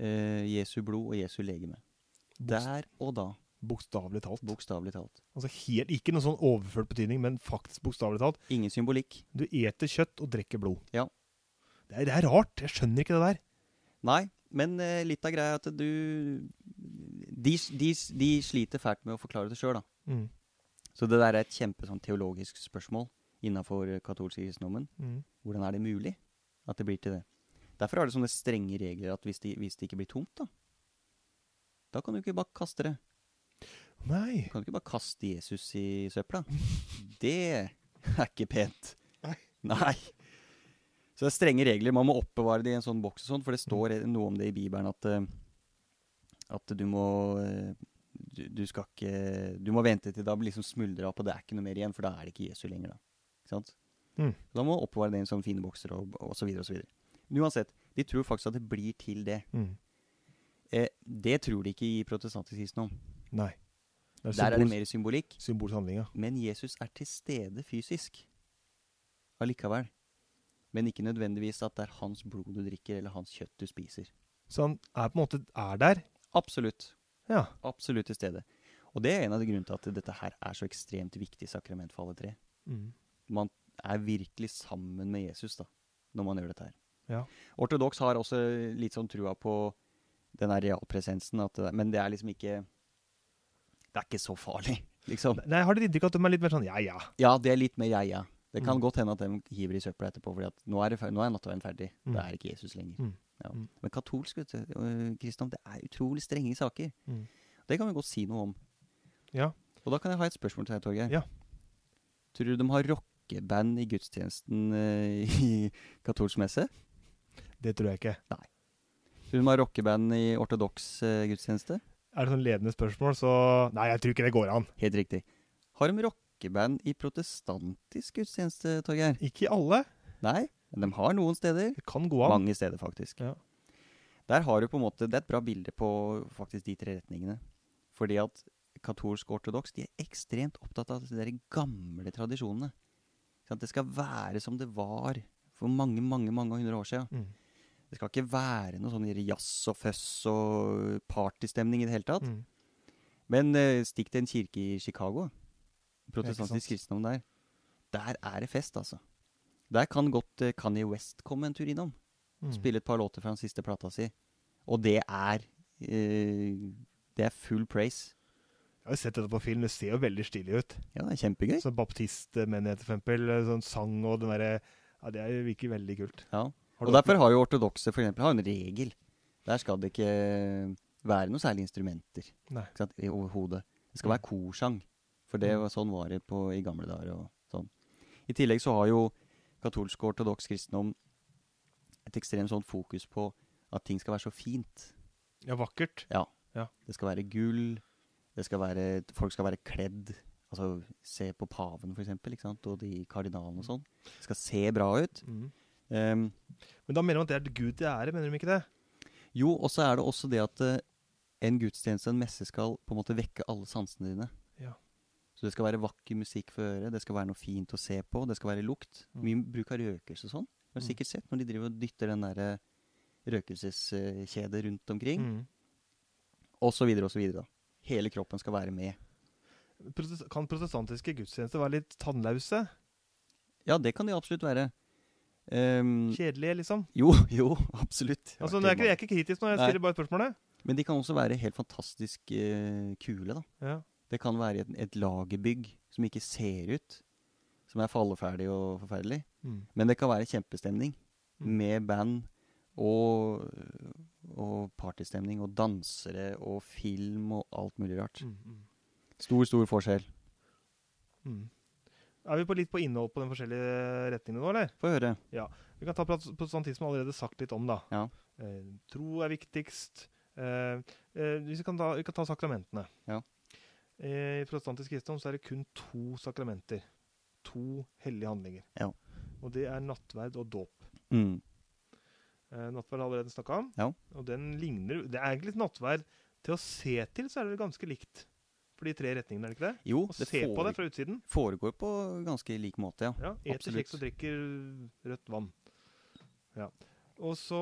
Speaker 1: eh, Jesu blod og Jesu legeme.
Speaker 2: Bokst-
Speaker 1: Der og da,
Speaker 2: Bokstavelig talt.
Speaker 1: bokstavelig talt.
Speaker 2: Altså helt, Ikke noe sånn overført betydning, men faktisk bokstavelig talt.
Speaker 1: Ingen symbolikk.
Speaker 2: Du eter kjøtt og drikker blod.
Speaker 1: Ja.
Speaker 2: Det er, det er rart. Jeg skjønner ikke det der.
Speaker 1: Nei, men eh, litt av greia er at du de, de, de sliter fælt med å forklare det sjøl, da.
Speaker 2: Mm.
Speaker 1: Så det der er et kjempe sånn, teologisk spørsmål innafor katolsk kristendommen.
Speaker 2: Mm.
Speaker 1: Hvordan er det mulig at det blir til det? Derfor har det sånne strenge regler at hvis det, hvis det ikke blir tomt, da Da kan du ikke bare kaste det.
Speaker 2: Nei.
Speaker 1: Du kan ikke bare kaste Jesus i søpla. Det er ikke pent.
Speaker 2: Nei.
Speaker 1: Nei. Så det er strenge regler. Man må oppbevare det i en sånn boks, og sånn, for det står noe om det i Bibelen at, eh, at du må eh, du, du skal ikke Du må vente til det har liksom smuldra opp, og det er ikke noe mer igjen, for da er det ikke Jesu lenger. Da Ikke sant?
Speaker 2: Mm.
Speaker 1: Da må man oppbevare det i en sånn fine bokser og, og så videre og så videre. Men Uansett, de tror faktisk at det blir til det.
Speaker 2: Mm.
Speaker 1: Eh, det tror de ikke i protestantisk kristendom.
Speaker 2: Nei. Det
Speaker 1: Der er det
Speaker 2: symbol-
Speaker 1: mer symbolikk.
Speaker 2: symbolsk handling, ja.
Speaker 1: Men Jesus er til stede fysisk allikevel. Men ikke nødvendigvis at det er hans blod du drikker, eller hans kjøtt du spiser.
Speaker 2: Så han er på en måte er der.
Speaker 1: Absolutt.
Speaker 2: Ja.
Speaker 1: Absolutt til stede. Og det er en av de grunnene til at dette her er så ekstremt viktig sakrament for alle tre.
Speaker 2: Mm.
Speaker 1: Man er virkelig sammen med Jesus da, når man gjør dette her.
Speaker 2: Ja.
Speaker 1: Ortodoks har også litt sånn trua på den her realpresensen, at det, men det er liksom ikke Det er ikke så farlig, liksom.
Speaker 2: Nei, jeg har dere inntrykk av at de er litt mer sånn ja, ja?
Speaker 1: Ja, det er litt mer jeg, ja. Det kan
Speaker 2: Mm.
Speaker 1: godt hende at de hiver i søpla etterpå, fordi at nå er, det fer nå er nattverden ferdig.
Speaker 2: Mm.
Speaker 1: Da er ikke Jesus lenger.
Speaker 2: Mm.
Speaker 1: Ja.
Speaker 2: Mm.
Speaker 1: Men katolsk vet du, øh, kristendom, det er utrolig strenge saker.
Speaker 2: Mm.
Speaker 1: Det kan vi godt si noe om.
Speaker 2: Ja.
Speaker 1: Og da kan jeg ha et spørsmål til deg, Torgeir.
Speaker 2: Ja.
Speaker 1: Tror du de har rockeband i gudstjenesten øh, i katolsk messe?
Speaker 2: Det tror jeg ikke.
Speaker 1: Tror du de har rockeband i ortodoks øh, gudstjeneste?
Speaker 2: Er det sånn ledende spørsmål, så Nei, jeg tror ikke det går an.
Speaker 1: Helt riktig. Har de rockeband i protestantisk gudstjeneste, Torgeir?
Speaker 2: Ikke i alle.
Speaker 1: Nei, men de har noen steder.
Speaker 2: Det kan gå an.
Speaker 1: Mange steder, faktisk.
Speaker 2: Ja.
Speaker 1: Der har du på en måte, Det er et bra bilde på faktisk de tre retningene. Fordi at katolsk og ortodoks de er ekstremt opptatt av de der gamle tradisjonene. Ikke sant? Det skal være som det var for mange mange, mange hundre år siden.
Speaker 2: Mm.
Speaker 1: Det skal ikke være noe sånn jazz og føss og partystemning i det hele tatt.
Speaker 2: Mm.
Speaker 1: Men eh, stikk til en kirke i Chicago.
Speaker 2: sant.
Speaker 1: Protestantisk kristendom der. Der er det fest, altså. Der kan godt eh, Kanye West komme en tur innom
Speaker 2: Mm.
Speaker 1: spille et par låter fra den siste plata si. Og det er eh, Det er full praise.
Speaker 2: Jeg har jo sett dette på film, det ser jo veldig stilig ut.
Speaker 1: Ja, det er kjempegøy.
Speaker 2: Så baptistmenighet, for eksempel. Sånn sang og den derre Ja, det er jo- virker veldig kult.
Speaker 1: Ja.
Speaker 2: Har
Speaker 1: Og
Speaker 2: du vært
Speaker 1: derfor har jo ortodokse for eksempel, har en regel. Der skal det ikke være noe særlig instrumenter
Speaker 2: Nei. Mm.
Speaker 1: ikke sant, i overhodet. Det skal være korsang. For det var sånn var det på, i gamle dager. og sånn. I tillegg så har jo katolsk og ortodoks kristendom et ekstremt sånn fokus på at ting skal være så fint.
Speaker 2: med? Ja, vakkert.
Speaker 1: Det skal være gull. Det skal være, folk skal være kledd. Altså, Se på paven, for eksempel, ikke sant? og de kardinalene og sånn. Det skal se bra ut.
Speaker 2: Mm.
Speaker 1: Ehm,
Speaker 2: Men da mener man at det er til Gud til ære, mener de ikke det?
Speaker 1: jo, og så er det også det at eh, en gudstjeneste, en messe, skal på en måte vekke alle sansene dine.
Speaker 2: Ja.
Speaker 1: Så det skal være vakker musikk for øret, det skal være noe fint å se på, det skal være lukt.
Speaker 2: Mm.
Speaker 1: Mye bruk av røkelse og sånn. Du har
Speaker 2: Mm.
Speaker 1: sikkert sett når de driver og dytter den der eh, røkelseskjedet rundt omkring,
Speaker 2: Mm.
Speaker 1: og så videre og så videre. da. Hele kroppen skal være med.
Speaker 2: Protest kan protestantiske gudstjenester være litt tannlause?
Speaker 1: Ja, det kan det absolutt være. Ehm,
Speaker 2: Kjedelige, liksom?
Speaker 1: jo, jo, absolutt.
Speaker 2: Altså, det er ikke, jeg er ikke kritisk nå, jeg
Speaker 1: Nei.
Speaker 2: stiller bare spørsmålet.
Speaker 1: Men de kan også være helt fantastisk eh, kule, da.
Speaker 2: Ja.
Speaker 1: Det kan være et, et lagerbygg som ikke ser ut, som er falleferdig og forferdelig.
Speaker 2: Mm.
Speaker 1: Men det kan være kjempestemning
Speaker 2: Mm.
Speaker 1: med band og, og partystemning og dansere og film og alt mulig rart.
Speaker 2: Mm. Mm.
Speaker 1: Stor, stor forskjell.
Speaker 2: Mm. Er vi på litt på innhold på de forskjellige retningene nå, eller?
Speaker 1: Få høre.
Speaker 2: Vi kan ta prat- protestantisme allerede sagt litt om, da.
Speaker 1: Ja.
Speaker 2: Eh, tro er viktigst. Eh, eh, hvis vi, kan ta, vi kan ta sakramentene.
Speaker 1: Ja.
Speaker 2: Eh, I protestantisk kristendom så er det kun to sakramenter. To hellige handlinger.
Speaker 1: Ja.
Speaker 2: Og det er nattverd og dåp.
Speaker 1: Mm.
Speaker 2: Eh, nattverd har jeg allerede snakka om.
Speaker 1: Ja.
Speaker 2: Og den ligner Det er egentlig nattverd Til å se til så er det ganske likt for de tre retningene, er det ikke det?
Speaker 1: Jo,
Speaker 2: Å
Speaker 1: Oh, det
Speaker 2: se på det
Speaker 1: foregår,
Speaker 2: fra utsiden.
Speaker 1: foregår på ganske lik måte, ja.
Speaker 2: Ja, eter
Speaker 1: Absolutt.
Speaker 2: kjeks og drikker rødt vann. Ja. Og så,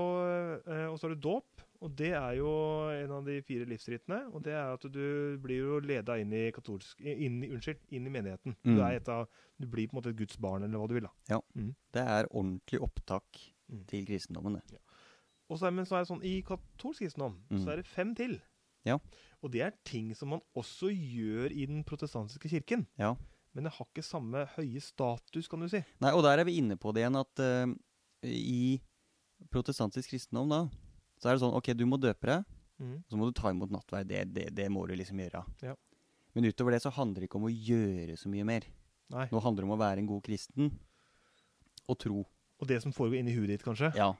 Speaker 2: eh, og så har du dåp, og det er jo en av de fire livsrittene. Og det er at du blir jo leda inn i katolsk inn, i- Unnskyld, inn i menigheten.
Speaker 1: Mm.
Speaker 2: Du, er et av, du blir på en måte et Guds barn, eller hva du vil. da.
Speaker 1: Det er ordentlig opptak
Speaker 2: Mm.
Speaker 1: til kristendommen, det.
Speaker 2: Og så er, men så er det sånn, i katolsk kristendom
Speaker 1: Mm.
Speaker 2: så er det fem til.
Speaker 1: Ja.
Speaker 2: Og det er ting som man også gjør i den protestantiske kirken.
Speaker 1: Ja.
Speaker 2: Men det har ikke samme høye status, kan du si.
Speaker 1: Nei, og der er vi inne på det igjen at eh, i protestantisk kristendom da, så er det sånn, ok, du må døpe deg,
Speaker 2: Mm.
Speaker 1: så må du ta imot nattverd, det, det, det må du liksom gjøre.
Speaker 2: Ja.
Speaker 1: Men utover det så handler det ikke om å gjøre så mye mer.
Speaker 2: Nei.
Speaker 1: Nå handler det om å være en god kristen, og tro.
Speaker 2: Og det som foregår inni huet ditt, kanskje.
Speaker 1: Ja,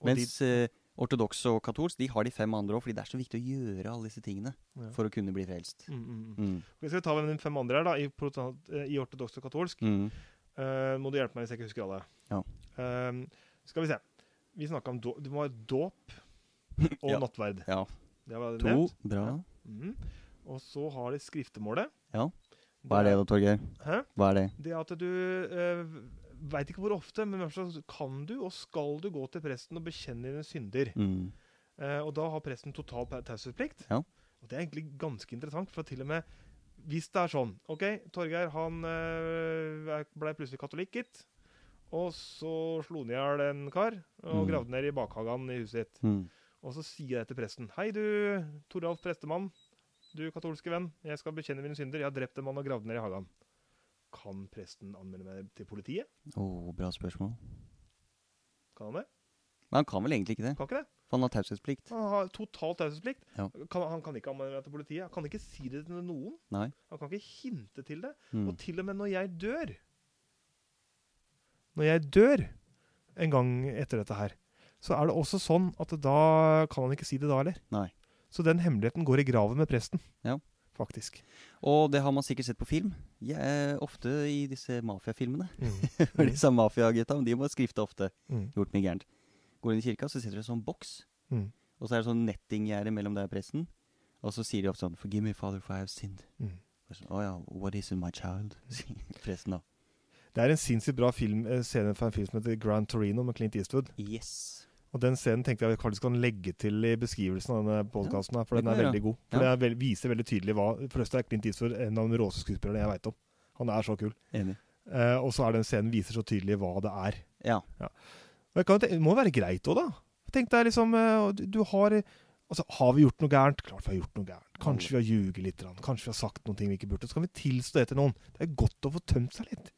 Speaker 2: Og
Speaker 1: mens uh, ortodoks og katolsk, de har de fem andre også, fordi det er så viktig å gjøre alle disse tingene
Speaker 2: de, ja.
Speaker 1: for å kunne bli frelst.
Speaker 2: Mm, mm, mm.
Speaker 1: Mm.
Speaker 2: Ok, Skal vi ta hvem de fem andre er, da, i, protestantisk- eh, i ortodoks og katolsk?
Speaker 1: Mm.
Speaker 2: Eh, må du hjelpe meg hvis jeg ikke husker alle.
Speaker 1: Ja.
Speaker 2: Eh, skal vi se. Vi snakka om dåp. Det var dåp og
Speaker 1: Ja.
Speaker 2: nattverd.
Speaker 1: Ja.
Speaker 2: Det var det
Speaker 1: To,
Speaker 2: nevnt.
Speaker 1: bra.
Speaker 2: Mhm. Og så har de skriftemålet.
Speaker 1: Ja. Hva er det da, Torgeir?
Speaker 2: Hæ?
Speaker 1: Hva er det?
Speaker 2: Det at du eh, veit ikke hvor ofte, men i hvert fall kan du og skal du gå til presten og bekjenne dine synder.
Speaker 1: Mm.
Speaker 2: Eh, og da har presten total pa- taushetsplikt.
Speaker 1: Ja.
Speaker 2: Og det er egentlig ganske interessant, for til og med hvis det er sånn OK, Torgeir han eh, er- ble plutselig katolikk, gitt. Og så slo han i hjel en kar og
Speaker 1: Mm.
Speaker 2: gravde ned i bakhagen i huset ditt.
Speaker 1: Mm.
Speaker 2: Og så sier jeg til presten Hei du, Toralf prestemann. Du katolske venn. Jeg skal bekjenne mine synder. Jeg har drept en mann og gravd ned i hagen. Kan presten anmelde meg til politiet?
Speaker 1: Åh, bra spørsmål.
Speaker 2: Kan han det?
Speaker 1: Men han kan vel egentlig ikke det?
Speaker 2: Kan ikke det?
Speaker 1: For han har taushetsplikt.
Speaker 2: Han har total taushetsplikt.
Speaker 1: Ja.
Speaker 2: Kan, han kan ikke anmelde meg til politiet. Han kan ikke si det til noen.
Speaker 1: Nei.
Speaker 2: Han kan ikke hinte til det.
Speaker 1: Mm.
Speaker 2: Og til og med når jeg dør Når jeg dør en gang etter dette her, så er det også sånn at da kan han ikke si det da heller.
Speaker 1: Nei.
Speaker 2: Så den hemmeligheten går i graven med presten,
Speaker 1: Ja.
Speaker 2: faktisk.
Speaker 1: Og det har man sikkert sett på film. Ja, eh, ofte i disse mafiafilmene. For disse mafiagutta, men de må skrifte ofte.
Speaker 2: Mm.
Speaker 1: Gjort mye gærent. Går inn i kirka, så sitter det en sånn boks.
Speaker 2: Mm.
Speaker 1: Og så er det sånn nettinggjerde mellom deg og presten. Og så sier de ofte sånn Forgive me, father, for I have sinned.
Speaker 2: Mm.
Speaker 1: Og sånn, Å ja, what is in my child? sier presten da.
Speaker 2: Det er en sinnssykt bra film, eh, scene fra en film som heter Grand Torino med Clint Eastwood.
Speaker 1: Yes.
Speaker 2: Og den scenen tenkte jeg faktisk kan legge til i beskrivelsen av denne podkasten, for
Speaker 1: det
Speaker 2: den
Speaker 1: kan
Speaker 2: er
Speaker 1: vi
Speaker 2: veldig god. For
Speaker 1: Ja.
Speaker 2: det er vel- viser veldig tydelig hva For det er Clint Eastwood en av de råeste skuespillerne jeg veit om. Han er så kul.
Speaker 1: Enig.
Speaker 2: Eh, og så er den scenen viser så tydelig hva det er.
Speaker 1: Ja.
Speaker 2: Og jeg kan, jo tenke- det må være greit òg, da. Tenk deg liksom eh, og du- Du har Altså, har vi gjort noe gærent? Klart vi har gjort noe gærent. Kanskje vi har ljuget litt. grann. Kanskje vi har sagt noe vi ikke burde. Så kan vi tilstå det til noen. Det er godt å få tømt seg litt.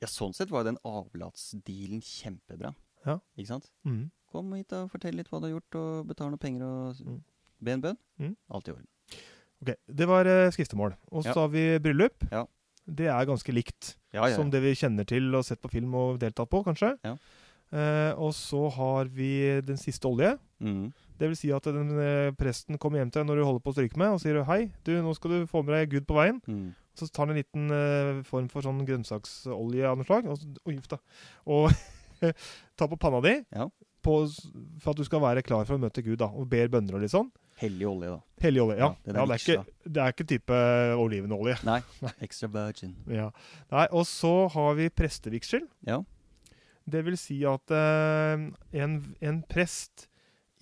Speaker 1: ja, sånn sett var jo den avlatsdealen kjempebra.
Speaker 2: Ja.
Speaker 1: Ikke sant?
Speaker 2: Mm.
Speaker 1: Kom hit og fortell litt hva du har gjort, og betal noen penger og s-
Speaker 2: Mm.
Speaker 1: be en bønn.
Speaker 2: Mm.
Speaker 1: Alt i orden.
Speaker 2: Ok, Det var eh, skriftemål. Og
Speaker 1: Ja.
Speaker 2: så har vi bryllup.
Speaker 1: Ja.
Speaker 2: Det er ganske likt
Speaker 1: Ja, ja,
Speaker 2: som
Speaker 1: ja.
Speaker 2: det vi kjenner til og sett på film og deltatt på, kanskje.
Speaker 1: Ja.
Speaker 2: Eh, og så har vi den siste olje.
Speaker 1: Mm.
Speaker 2: Det vil si at den, eh, presten kommer hjem til deg når du holder på å stryke med, og sier hei, du, nå skal du få med deg Gud på veien.
Speaker 1: Mm.
Speaker 2: Så tar han en liten eh, form for sånn grønnsaksolje av noe slag, og, så- oi, uff da, og tar på panna di
Speaker 1: Ja.
Speaker 2: på, s- for at du skal være klar for å møte Gud, da, og ber bønner og litt sånn.
Speaker 1: Hellig olje, da.
Speaker 2: Hellig olje, ja.
Speaker 1: Ja, den
Speaker 2: ja
Speaker 1: er
Speaker 2: det, er
Speaker 1: vigsla.
Speaker 2: ikke, det er ikke type olivenolje.
Speaker 1: Extra virgin.
Speaker 2: Ja. Nei, og så har vi prestevigsel.
Speaker 1: Ja.
Speaker 2: Det vil si at eh, en, en prest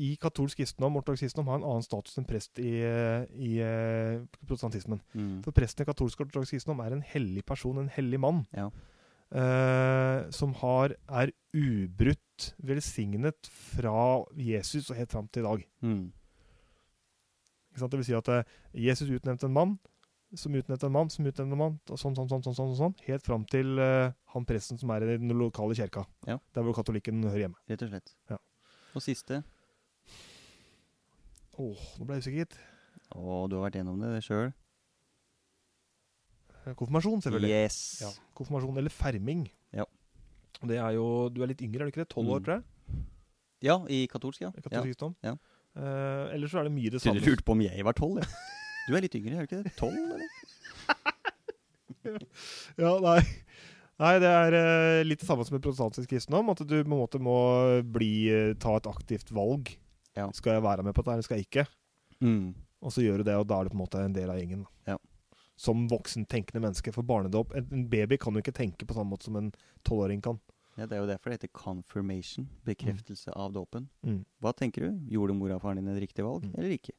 Speaker 2: i katolsk kristendom, ortodoks kristendom, har en annen status enn prest i, eh, i eh, protestantismen.
Speaker 1: Mm.
Speaker 2: For presten i katolsk ortodoks kristendom er en hellig person, en hellig mann,
Speaker 1: Ja.
Speaker 2: eh, som har, er ubrutt velsignet fra Jesus og helt fram til i dag.
Speaker 1: Mm.
Speaker 2: Ikke sant? Det vil si at eh, Jesus utnevnte en mann, som utnevnte en mann, som utnevnte en mann, og sånn, sånn, sånn, sånn, sånn, sånn helt fram til eh, han presten som er i den lokale kirka,
Speaker 1: Ja.
Speaker 2: der hvor katolikken hører hjemme.
Speaker 1: Rett og slett.
Speaker 2: Ja.
Speaker 1: Og siste
Speaker 2: Åh, nå ble jeg usikker, gitt.
Speaker 1: Å, du har vært gjennom det sjøl.
Speaker 2: Eh, Konfirmasjon, selvfølgelig.
Speaker 1: Yes.
Speaker 2: Ja, konfirmasjon eller ferming.
Speaker 1: Ja.
Speaker 2: Og Det er jo, du er litt yngre, er du ikke det? 12 år,
Speaker 1: Mm.
Speaker 2: tror jeg?
Speaker 1: Ja, i katolsk, ja.
Speaker 2: i
Speaker 1: ja.
Speaker 2: Katolsk kristendom.
Speaker 1: Ja.
Speaker 2: Eh, ellers så er det mye det
Speaker 1: Så du
Speaker 2: samme.
Speaker 1: lurte på om jeg var tolv, ja. Du er litt yngre, er du ikke det? Tolv, eller?
Speaker 2: Ja, nei. Nei, det er eh, litt det samme som i protestantisk kristendom, at du på en måte må bli, eh, ta et aktivt valg.
Speaker 1: Ja.
Speaker 2: Skal jeg være med på dette, eller skal jeg ikke?
Speaker 1: Mm.
Speaker 2: Og så gjør du det, og da er du på en måte en del av gjengen. da.
Speaker 1: Ja.
Speaker 2: Som voksentenkende menneske. For barnedåp En en baby kan jo ikke tenke på samme måte som en tolvåring kan.
Speaker 1: Ja, Det er jo derfor det heter confirmation, bekreftelse av dåpen.
Speaker 2: Mm.
Speaker 1: Hva tenker du? Gjorde mora og faren din et riktig valg,
Speaker 2: Mm.
Speaker 1: eller ikke?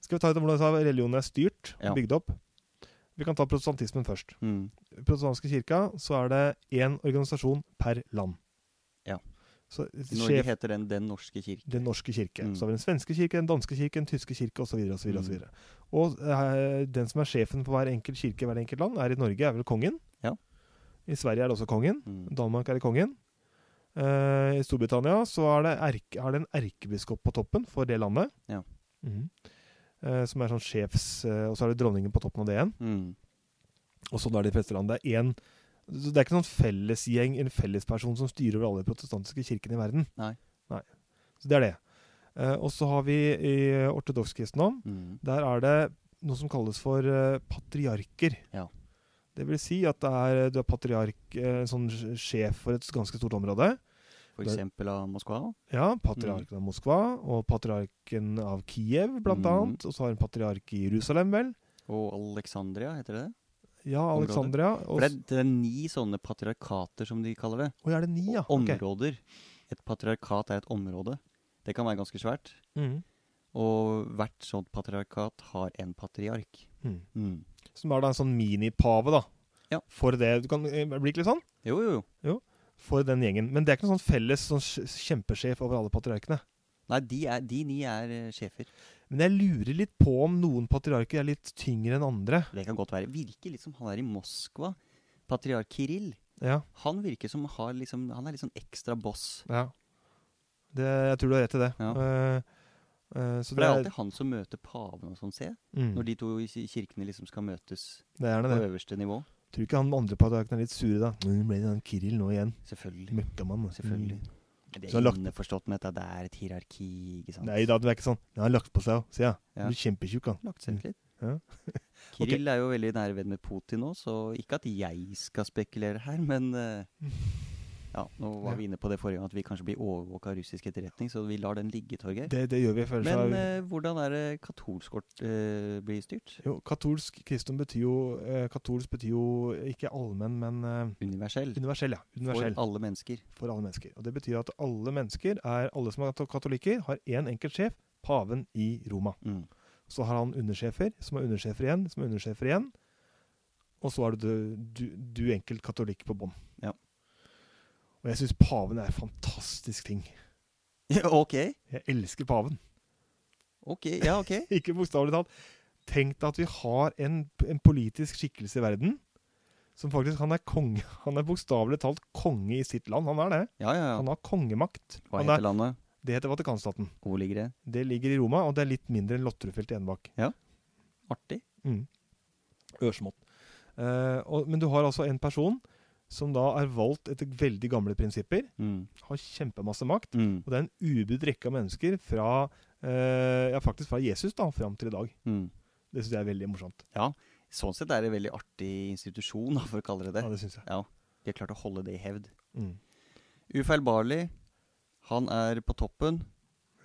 Speaker 2: Skal vi ta ut om hvordan sa religionen er styrt og
Speaker 1: Ja.
Speaker 2: bygd opp? Vi kan ta protestantismen først.
Speaker 1: Mm.
Speaker 2: I protestantiske kirka så er det én organisasjon per land.
Speaker 1: Ja.
Speaker 2: Så
Speaker 1: I Norge
Speaker 2: sjef
Speaker 1: heter den Den norske kirke.
Speaker 2: Den norske kirke.
Speaker 1: Mm.
Speaker 2: Så har vi den svenske kirke, den danske kirke, den tyske kirke osv. Og, så videre, og, så videre. og eh, den som er sjefen for hver enkelt kirke i hvert enkelt land, er i Norge er vel kongen.
Speaker 1: Ja.
Speaker 2: I Sverige er det også kongen.
Speaker 1: Mm.
Speaker 2: Danmark er det kongen. Eh, I Storbritannia så er det, erke, er det en erkebiskop på toppen for det landet.
Speaker 1: Ja.
Speaker 2: Mhm. Eh, som er sånn sjefs... eh, og så er det dronningen på toppen av det igjen.
Speaker 1: Mm.
Speaker 2: Og sånn er det i de fleste land. Det er én så Det er ikke noen fellesgjeng, en fellesperson som styrer over alle de protestantiske kirkene i verden.
Speaker 1: Nei.
Speaker 2: Så det er det. Eh, og så har vi i ortodoks kristendom
Speaker 1: Mm.
Speaker 2: der er det noe som kalles for eh, patriarker.
Speaker 1: Ja.
Speaker 2: Det vil si at det er, du er patriark, eh, en sånn sj- sjef for et ganske stort område. Det-
Speaker 1: F.eks. av Moskva.
Speaker 2: Ja,
Speaker 1: Mm.
Speaker 2: patriarken av Moskva og patriarken av Kiev, blant
Speaker 1: Mhm.
Speaker 2: annet. Og så har en patriark i Jerusalem, vel.
Speaker 1: Og Alexandria, heter det det?
Speaker 2: Ja,
Speaker 1: Områder.
Speaker 2: Alexandria.
Speaker 1: For
Speaker 2: Og,
Speaker 1: det, er- det er ni sånne patriarkater, som de kaller det.
Speaker 2: Å, er det ni, ja?
Speaker 1: Og
Speaker 2: Ok.
Speaker 1: Områder. Et patriarkat er et område. Det kan være ganske svært.
Speaker 2: Mhm.
Speaker 1: Og hvert sånt patriarkat har en patriark.
Speaker 2: Mhm.
Speaker 1: Mm.
Speaker 2: Som er da en sånn minipave, da.
Speaker 1: Ja.
Speaker 2: For det. Du kan eh, bli ikke litt sånn?
Speaker 1: Jo, jo, jo.
Speaker 2: For den gjengen. Men det er ikke noen sånn felles sånn sj- kjempesjef over alle patriarkene.
Speaker 1: Nei, de, er, de ni er eh, sjefer.
Speaker 2: Men jeg lurer litt på om noen patriarker er litt tyngre enn andre.
Speaker 1: Det kan godt være. Virker litt som han er i Moskva. Patriark Kirill.
Speaker 2: Ja,
Speaker 1: Han virker som har liksom, han er litt sånn ekstra boss.
Speaker 2: ja. Det, jeg tror du har rett i det.
Speaker 1: Ja.
Speaker 2: Eh, eh, så
Speaker 1: For det er alltid han som møter paven og sånn, se.
Speaker 2: mm,
Speaker 1: Når de to i ki- kirkene liksom skal møtes
Speaker 2: det er
Speaker 1: på
Speaker 2: gjerne det.
Speaker 1: øverste nivå.
Speaker 2: Tror du ikke han andre patriarken er litt sure, da? Nå ble det han Kiril nå igjen.
Speaker 1: Selvfølgelig.
Speaker 2: Møkkamann. altså. Mm. da.
Speaker 1: Selvfølgelig. Men Det
Speaker 2: Mm. Så han
Speaker 1: er
Speaker 2: lagt-
Speaker 1: innforstått med at det er et hierarki, ikke
Speaker 2: Mm.
Speaker 1: sant.
Speaker 2: Nei da, det er ikke sånn. Nei, han har lagt på seg òg. Se, ja.
Speaker 1: Ja.
Speaker 2: Han blir kjempetjukk, han.
Speaker 1: Lagt seg ut litt.
Speaker 2: Mm. Ja.
Speaker 1: Kirill er jo veldig nære venn med Putin nå, så ikke at jeg skal spekulere her, men eh, Ja, nå var vi inne på det forrige gang, at vi kanskje blir overvåka av russisk etterretning, så vi lar den ligge, Torgeir.
Speaker 2: Det, det gjør vi. for ellers
Speaker 1: Men
Speaker 2: er vi-
Speaker 1: eh, hvordan er det katolsk ort eh, blir styrt?
Speaker 2: Jo, katolsk kristendom betyr jo eh, Katolsk betyr jo ikke allmenn, men eh,
Speaker 1: Universell.
Speaker 2: universell, ja.
Speaker 1: For
Speaker 2: Universell.
Speaker 1: alle mennesker.
Speaker 2: for alle mennesker. Og Det betyr at alle mennesker, er, alle som er kato- katolikker, har én enkelt sjef, paven i Roma.
Speaker 1: Mm.
Speaker 2: Så har han undersjefer, som har undersjefer igjen, som har undersjefer igjen. Og så er det du, du, du enkelt katolikk på bånn.
Speaker 1: Ja.
Speaker 2: Og jeg syns paven er en fantastisk ting.
Speaker 1: Ja, ok.
Speaker 2: Jeg elsker paven.
Speaker 1: Ok, ja, ok.
Speaker 2: Ikke bokstavelig talt. Tenk deg at vi har en, en politisk skikkelse i verden som faktisk Han er konge. Han er bokstavelig talt konge i sitt land. Han er det.
Speaker 1: Ja, ja, ja.
Speaker 2: Han har kongemakt.
Speaker 1: Hva
Speaker 2: Han er,
Speaker 1: heter landet?
Speaker 2: det heter Vatikanstaten.
Speaker 1: Hvor ligger det?
Speaker 2: Det ligger i Roma, og det er litt mindre enn Lotterudfelt i Enebakk.
Speaker 1: Artig.
Speaker 2: Mm. Ørsmått. Eh, og, men du har altså en person som da er valgt etter veldig gamle prinsipper,
Speaker 1: Mm.
Speaker 2: har kjempemasse makt,
Speaker 1: Mm.
Speaker 2: og det er en ubudt rekke av mennesker fra eh, ja, faktisk fra Jesus da, fram til i dag.
Speaker 1: Mm.
Speaker 2: Det syns jeg er veldig morsomt.
Speaker 1: Sånn sett er det en veldig artig institusjon, da, for å kalle det
Speaker 2: Ja,
Speaker 1: det.
Speaker 2: det synes jeg.
Speaker 1: De har klart å holde det i hevd.
Speaker 2: Mm.
Speaker 1: Ufeilbarlig. Han er på toppen.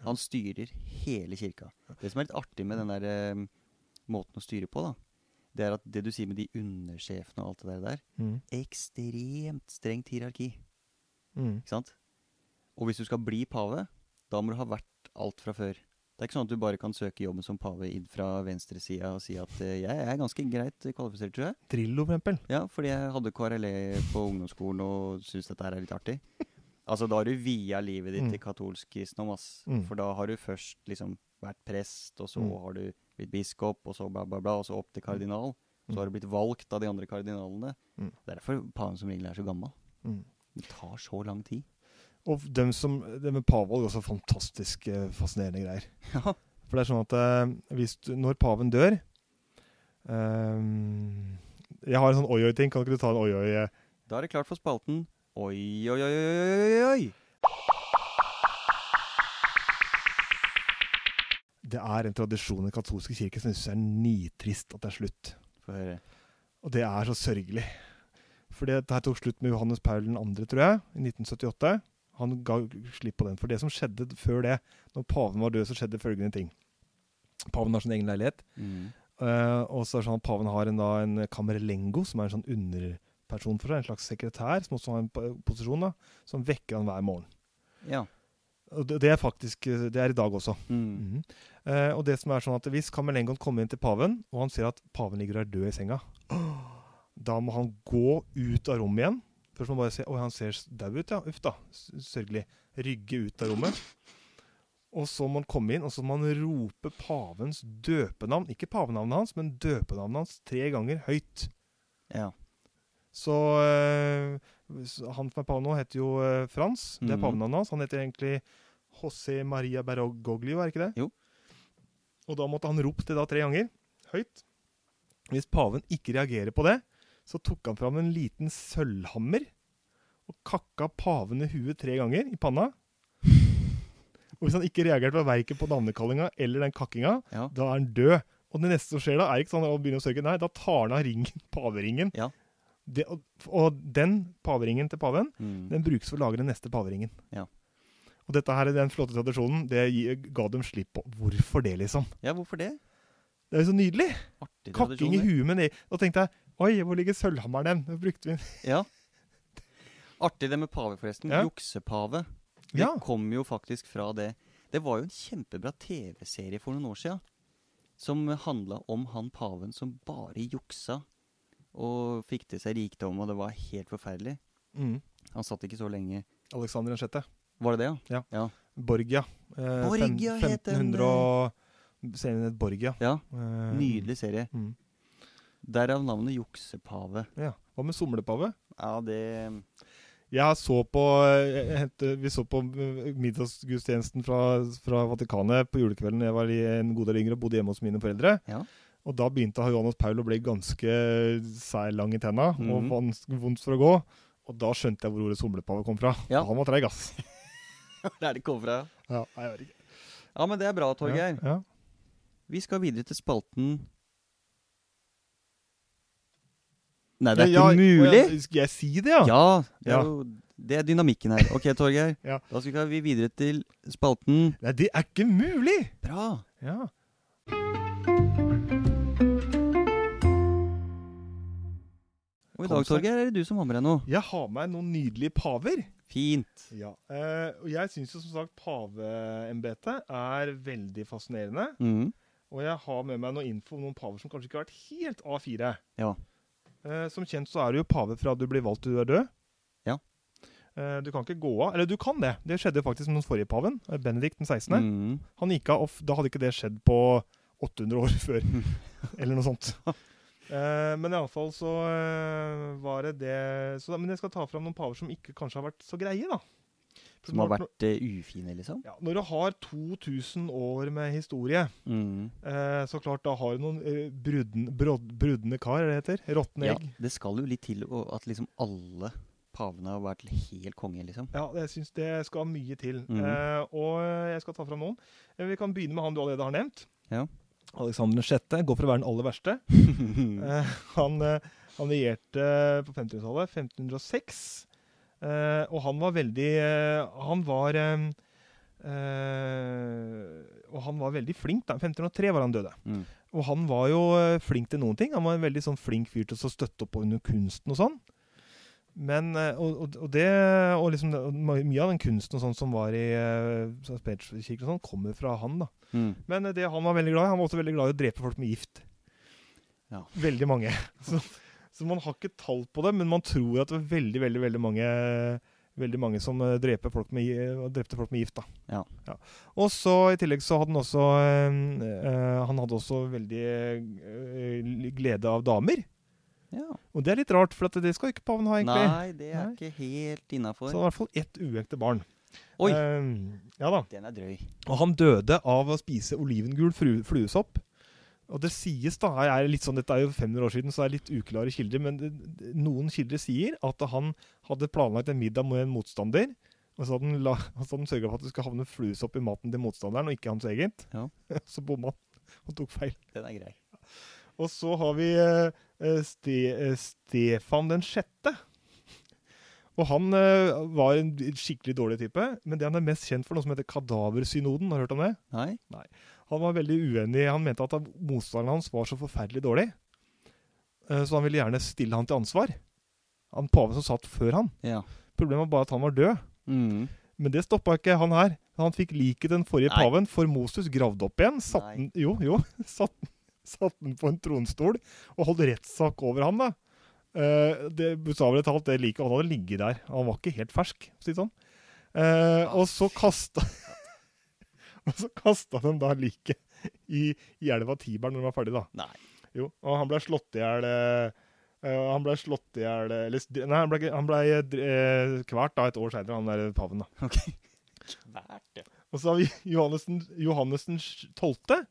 Speaker 1: Han styrer hele kirka. Det som er litt artig med den der eh, måten å styre på, da, det er at det du sier med de undersjefene og alt det der der,
Speaker 2: Mm.
Speaker 1: ekstremt strengt hierarki.
Speaker 2: Mm.
Speaker 1: Ikke sant? Og hvis du skal bli pave, da må du ha vært alt fra før. Det er ikke sånn at du bare kan søke jobben som pave inn fra venstresida og si at eh, jeg er ganske greit kvalifisert, tror jeg.
Speaker 2: Drillo, for eksempel.
Speaker 1: Ja, fordi jeg hadde KRLE E på ungdomsskolen og syns dette her er litt artig. Altså, da har du via livet ditt
Speaker 2: Mm.
Speaker 1: til katolsk kristendom, ass.
Speaker 2: Mm.
Speaker 1: For da har du først liksom vært prest, og så
Speaker 2: Mm.
Speaker 1: har du blitt biskop, og så bla, bla, bla, og så opp til kardinal.
Speaker 2: Mm.
Speaker 1: Så har du blitt valgt av de andre kardinalene.
Speaker 2: Mm.
Speaker 1: Det er derfor paven som regel er så gammel.
Speaker 2: Mm.
Speaker 1: Det tar så lang tid.
Speaker 2: Og dem som, det med pavalg er også fantastisk eh, fascinerende greier.
Speaker 1: Ja.
Speaker 2: For det er sånn at eh, hvis du, når paven dør ehm, Jeg har en sånn oi-oi-ting. Kan ikke du ta en oi-oi? eh?
Speaker 1: Da er det klart for spalten. Oi, oi, oi, oi, oi, oi, oi!
Speaker 2: Det er en tradisjon i den katolske kirke som jeg syns er nitrist at det er slutt.
Speaker 1: Få høre.
Speaker 2: Og det er så sørgelig. For det her tok slutt med Johannes Paul 2., tror jeg, i 1978. Han ga slipp på den. For det som skjedde før det, når paven var død, så skjedde følgende ting. Paven har sin egen leilighet.
Speaker 1: Mm.
Speaker 2: Eh, og så er det sånn at paven har en, da, en kammerlengo, som er en sånn underperson for seg, en slags sekretær, som også har en po- posisjon, da, som vekker han hver morgen.
Speaker 1: Ja.
Speaker 2: Og det, det er faktisk, eh, det er i dag også.
Speaker 1: Mm.
Speaker 2: Mhm. Eh, og det som er sånn at hvis kammerlengoen kommer inn til paven, og han ser at paven ligger der død i senga, da må han gå ut av rommet igjen. Først må han bare se, oi, han ser dau ut, ja, uff da, s- sørgelig. Rygge ut av rommet. Og så må han komme inn, og så må han rope pavens døpenavn, ikke pavenavnet hans, men døpenavnet hans, tre ganger høyt.
Speaker 1: Ja.
Speaker 2: Så eh, s- han som er pave nå, heter jo eh, Frans. Det er
Speaker 1: Mhm.
Speaker 2: pavenavnet hans. Han heter egentlig José Maria Bergoglio, er ikke det?
Speaker 1: Jo.
Speaker 2: Og da måtte han ropt det da tre ganger, høyt. Hvis paven ikke reagerer på det, så tok han fram en liten sølvhammer og kakka paven i huet tre ganger i panna. Og hvis han ikke reagerte på verken på navnekallinga eller den kakkinga,
Speaker 1: Ja.
Speaker 2: da er han død. Og det neste som skjer da, er ikke sånn at han begynner å sørge. Nei, da tar han av ringen, paveringen.
Speaker 1: Ja.
Speaker 2: det, og, og den paveringen til paven,
Speaker 1: Mm.
Speaker 2: den brukes for å lage den neste paveringen.
Speaker 1: Ja.
Speaker 2: Og dette her, den flotte tradisjonen, det gi- ga dem slipp på. Hvorfor det, liksom?
Speaker 1: Ja, hvorfor det?
Speaker 2: Det er jo så nydelig!
Speaker 1: Artig
Speaker 2: Kakking
Speaker 1: tradisjon,
Speaker 2: i
Speaker 1: det.
Speaker 2: huet med ned. Da tenkte jeg Oi, hvor ligger sølvhammeren? Den brukte vi
Speaker 1: Ja. Artig det med pave, forresten.
Speaker 2: Ja.
Speaker 1: Juksepave. Det
Speaker 2: Ja.
Speaker 1: kom jo faktisk fra det. Det var jo en kjempebra TV-serie for noen år sia som handla om han paven som bare juksa og fikk til seg rikdom, og det var helt forferdelig.
Speaker 2: Mm.
Speaker 1: Han satt ikke så lenge.
Speaker 2: Alexander 6.
Speaker 1: Var det det,
Speaker 2: Borgia. Eh,
Speaker 1: Borgia
Speaker 2: fem-
Speaker 1: het den,
Speaker 2: 1500 og Serien het Borgia.
Speaker 1: ja?
Speaker 2: Eh,
Speaker 1: Ja, Nydelig serie.
Speaker 2: Mm.
Speaker 1: Derav navnet Juksepave.
Speaker 2: Ja. Hva med somlepave?
Speaker 1: Ja, det
Speaker 2: Jeg så på, jeg hentet, Vi så på eh, middagsgudstjenesten fra, fra Vatikanet på julekvelden da jeg var i en god del yngre og bodde hjemme hos mine foreldre.
Speaker 1: Ja.
Speaker 2: Og da begynte Johannes Paul å bli ganske sær lang i tenna og
Speaker 1: Mhm.
Speaker 2: vans- vondt for å gå. Og da skjønte jeg hvor ordet somlepave kom fra.
Speaker 1: Ja.
Speaker 2: Han var treig, ass.
Speaker 1: Der det kommer fra.
Speaker 2: Ja, nei, jeg vet ikke.
Speaker 1: Ja, men det er bra, Torgeir.
Speaker 2: Ja, ja.
Speaker 1: Vi skal videre til spalten Nei, det er
Speaker 2: Ja,
Speaker 1: ikke mulig!
Speaker 2: og jeg- Skal jeg si det, ja?
Speaker 1: Ja, det
Speaker 2: Ja.
Speaker 1: er, jo, det er dynamikken her. Ok, Torgeir.
Speaker 2: Ja.
Speaker 1: Da skal vi videre til spalten
Speaker 2: Nei, det er ikke mulig!
Speaker 1: Bra!
Speaker 2: Ja.
Speaker 1: Og i
Speaker 2: Kom
Speaker 1: dag,
Speaker 2: seg.
Speaker 1: Torgeir, er det du som har med deg noe.
Speaker 2: Jeg har med noen nydelige paver.
Speaker 1: Fint.
Speaker 2: Ja. Eh, og jeg syns jo som sagt paveembetet er veldig fascinerende.
Speaker 1: Mhm.
Speaker 2: Og jeg har med meg noe info om noen paver som kanskje ikke har vært helt A4.
Speaker 1: Ja.
Speaker 2: Eh, som kjent så er du jo pave fra du blir valgt til du er død.
Speaker 1: Ja.
Speaker 2: Eh, du kan ikke gå av. Eller du kan det. Det skjedde jo faktisk med den forrige paven, eh, Benedikt den 16.
Speaker 1: Mhm.
Speaker 2: Han gikk av, og f- da hadde ikke det skjedd på 800 år før, eller noe sånt. Eh, men iallfall så eh, var det det så, da- Men jeg skal ta fram noen paver som ikke kanskje har vært så greie, da.
Speaker 1: Som har vært eh, ufine, liksom?
Speaker 2: ja, Når du har 2000 år med historie,
Speaker 1: Mhm.
Speaker 2: eh, så klart da har du noen eh, brudden, brodd- brudne kar, er det det heter? Råtne
Speaker 1: Ja,
Speaker 2: egg.
Speaker 1: det skal jo litt til å- at liksom alle pavene har vært helt konge, liksom.
Speaker 2: Ja, jeg syns det skal mye til.
Speaker 1: Mhm.
Speaker 2: Eh, og jeg skal ta fram noen. Eh, Vi kan begynne med han du allerede har nevnt.
Speaker 1: Ja.
Speaker 2: Alexander 6. går for å være den aller verste. Eh, han, eh, han regjerte eh, på 1500-tallet, 1506. Eh, og han var veldig eh, Han var eh, eh, Og han var veldig flink. da. 1503 var han døde.
Speaker 1: Mm.
Speaker 2: Og han var jo eh, flink til noen ting. Han var en veldig sånn flink fyr til å støtte opp under kunsten og sånn. Men, eh, og, og, og det, og liksom, det- og my- mye av den kunsten og sånn som var i eh, St. Peterskirken og sånn, kommer fra han, da.
Speaker 1: Mm.
Speaker 2: Men eh, det han var veldig glad i, han var også veldig glad i å drepe folk med gift.
Speaker 1: Ja.
Speaker 2: Veldig mange. Så, så man har ikke tall på det, men man tror at det var veldig, veldig, veldig mange Veldig mange som eh, dreper folk med, gi- eh, drepte folk med gift. da.
Speaker 1: Ja.
Speaker 2: Og så I tillegg så hadde han også eh, eh, Han hadde også veldig eh, glede av damer.
Speaker 1: Ja.
Speaker 2: Og det er litt rart, for at det skal ikke paven ha, egentlig.
Speaker 1: Nei, det er
Speaker 2: Nei.
Speaker 1: ikke helt
Speaker 2: Så
Speaker 1: innafor.
Speaker 2: han har i hvert fall ett uekte barn.
Speaker 1: Oi,
Speaker 2: Eh, ja da.
Speaker 1: den er drøy.
Speaker 2: Og han døde av å spise olivengul fru- fluesopp. Og det sies da, jeg er litt sånn, Dette er jo 500 år siden, så det er litt uklare kilder. Men det, det- noen kilder sier at han hadde planlagt en middag med en motstander. Og så hadde han, la- og så hadde han sørga for at det skulle havne fluesopp i maten til motstanderen, og ikke hans eget.
Speaker 1: Ja.
Speaker 2: Så bomma han og tok feil.
Speaker 1: Den er grei.
Speaker 2: Og så har vi eh, eh, ste, eh, Stefan den sjette. Og han eh, var en skikkelig dårlig type, men det han er mest kjent for, noe som heter Kadaversynoden. Har du hørt om det?
Speaker 1: Nei?
Speaker 2: Han var veldig uenig. Han mente at motstanderen hans var så forferdelig dårlig. Eh, Så han ville gjerne stille han til ansvar. Han paven som satt før han.
Speaker 1: Ja.
Speaker 2: Problemet var bare at han var død.
Speaker 1: Mhm.
Speaker 2: Men det stoppa ikke han her. Han fikk liket den forrige
Speaker 1: Nei.
Speaker 2: paven for Moses gravd opp igjen. Satt
Speaker 1: Nei.
Speaker 2: den, jo, jo, satt, den- satt den på en tronstol og holdt rettssak over ham, da. Eh, det Bokstavelig talt, det liket han hadde ligget der. Han var ikke helt fersk, for å si det sånn. Eh, og så kasta Og så kasta de da liket i, i elva Tiberen når de var ferdig, da.
Speaker 1: Nei.
Speaker 2: Jo, og han ble slått i hjel eh, Han ble slått i hjel Eller s- Nei, han ble, ikke- han ble eh, dr- eh, kvalt da et år seinere, han der paven, da.
Speaker 1: Ok.
Speaker 2: Og så har vi Johannessen, Johannessen 12.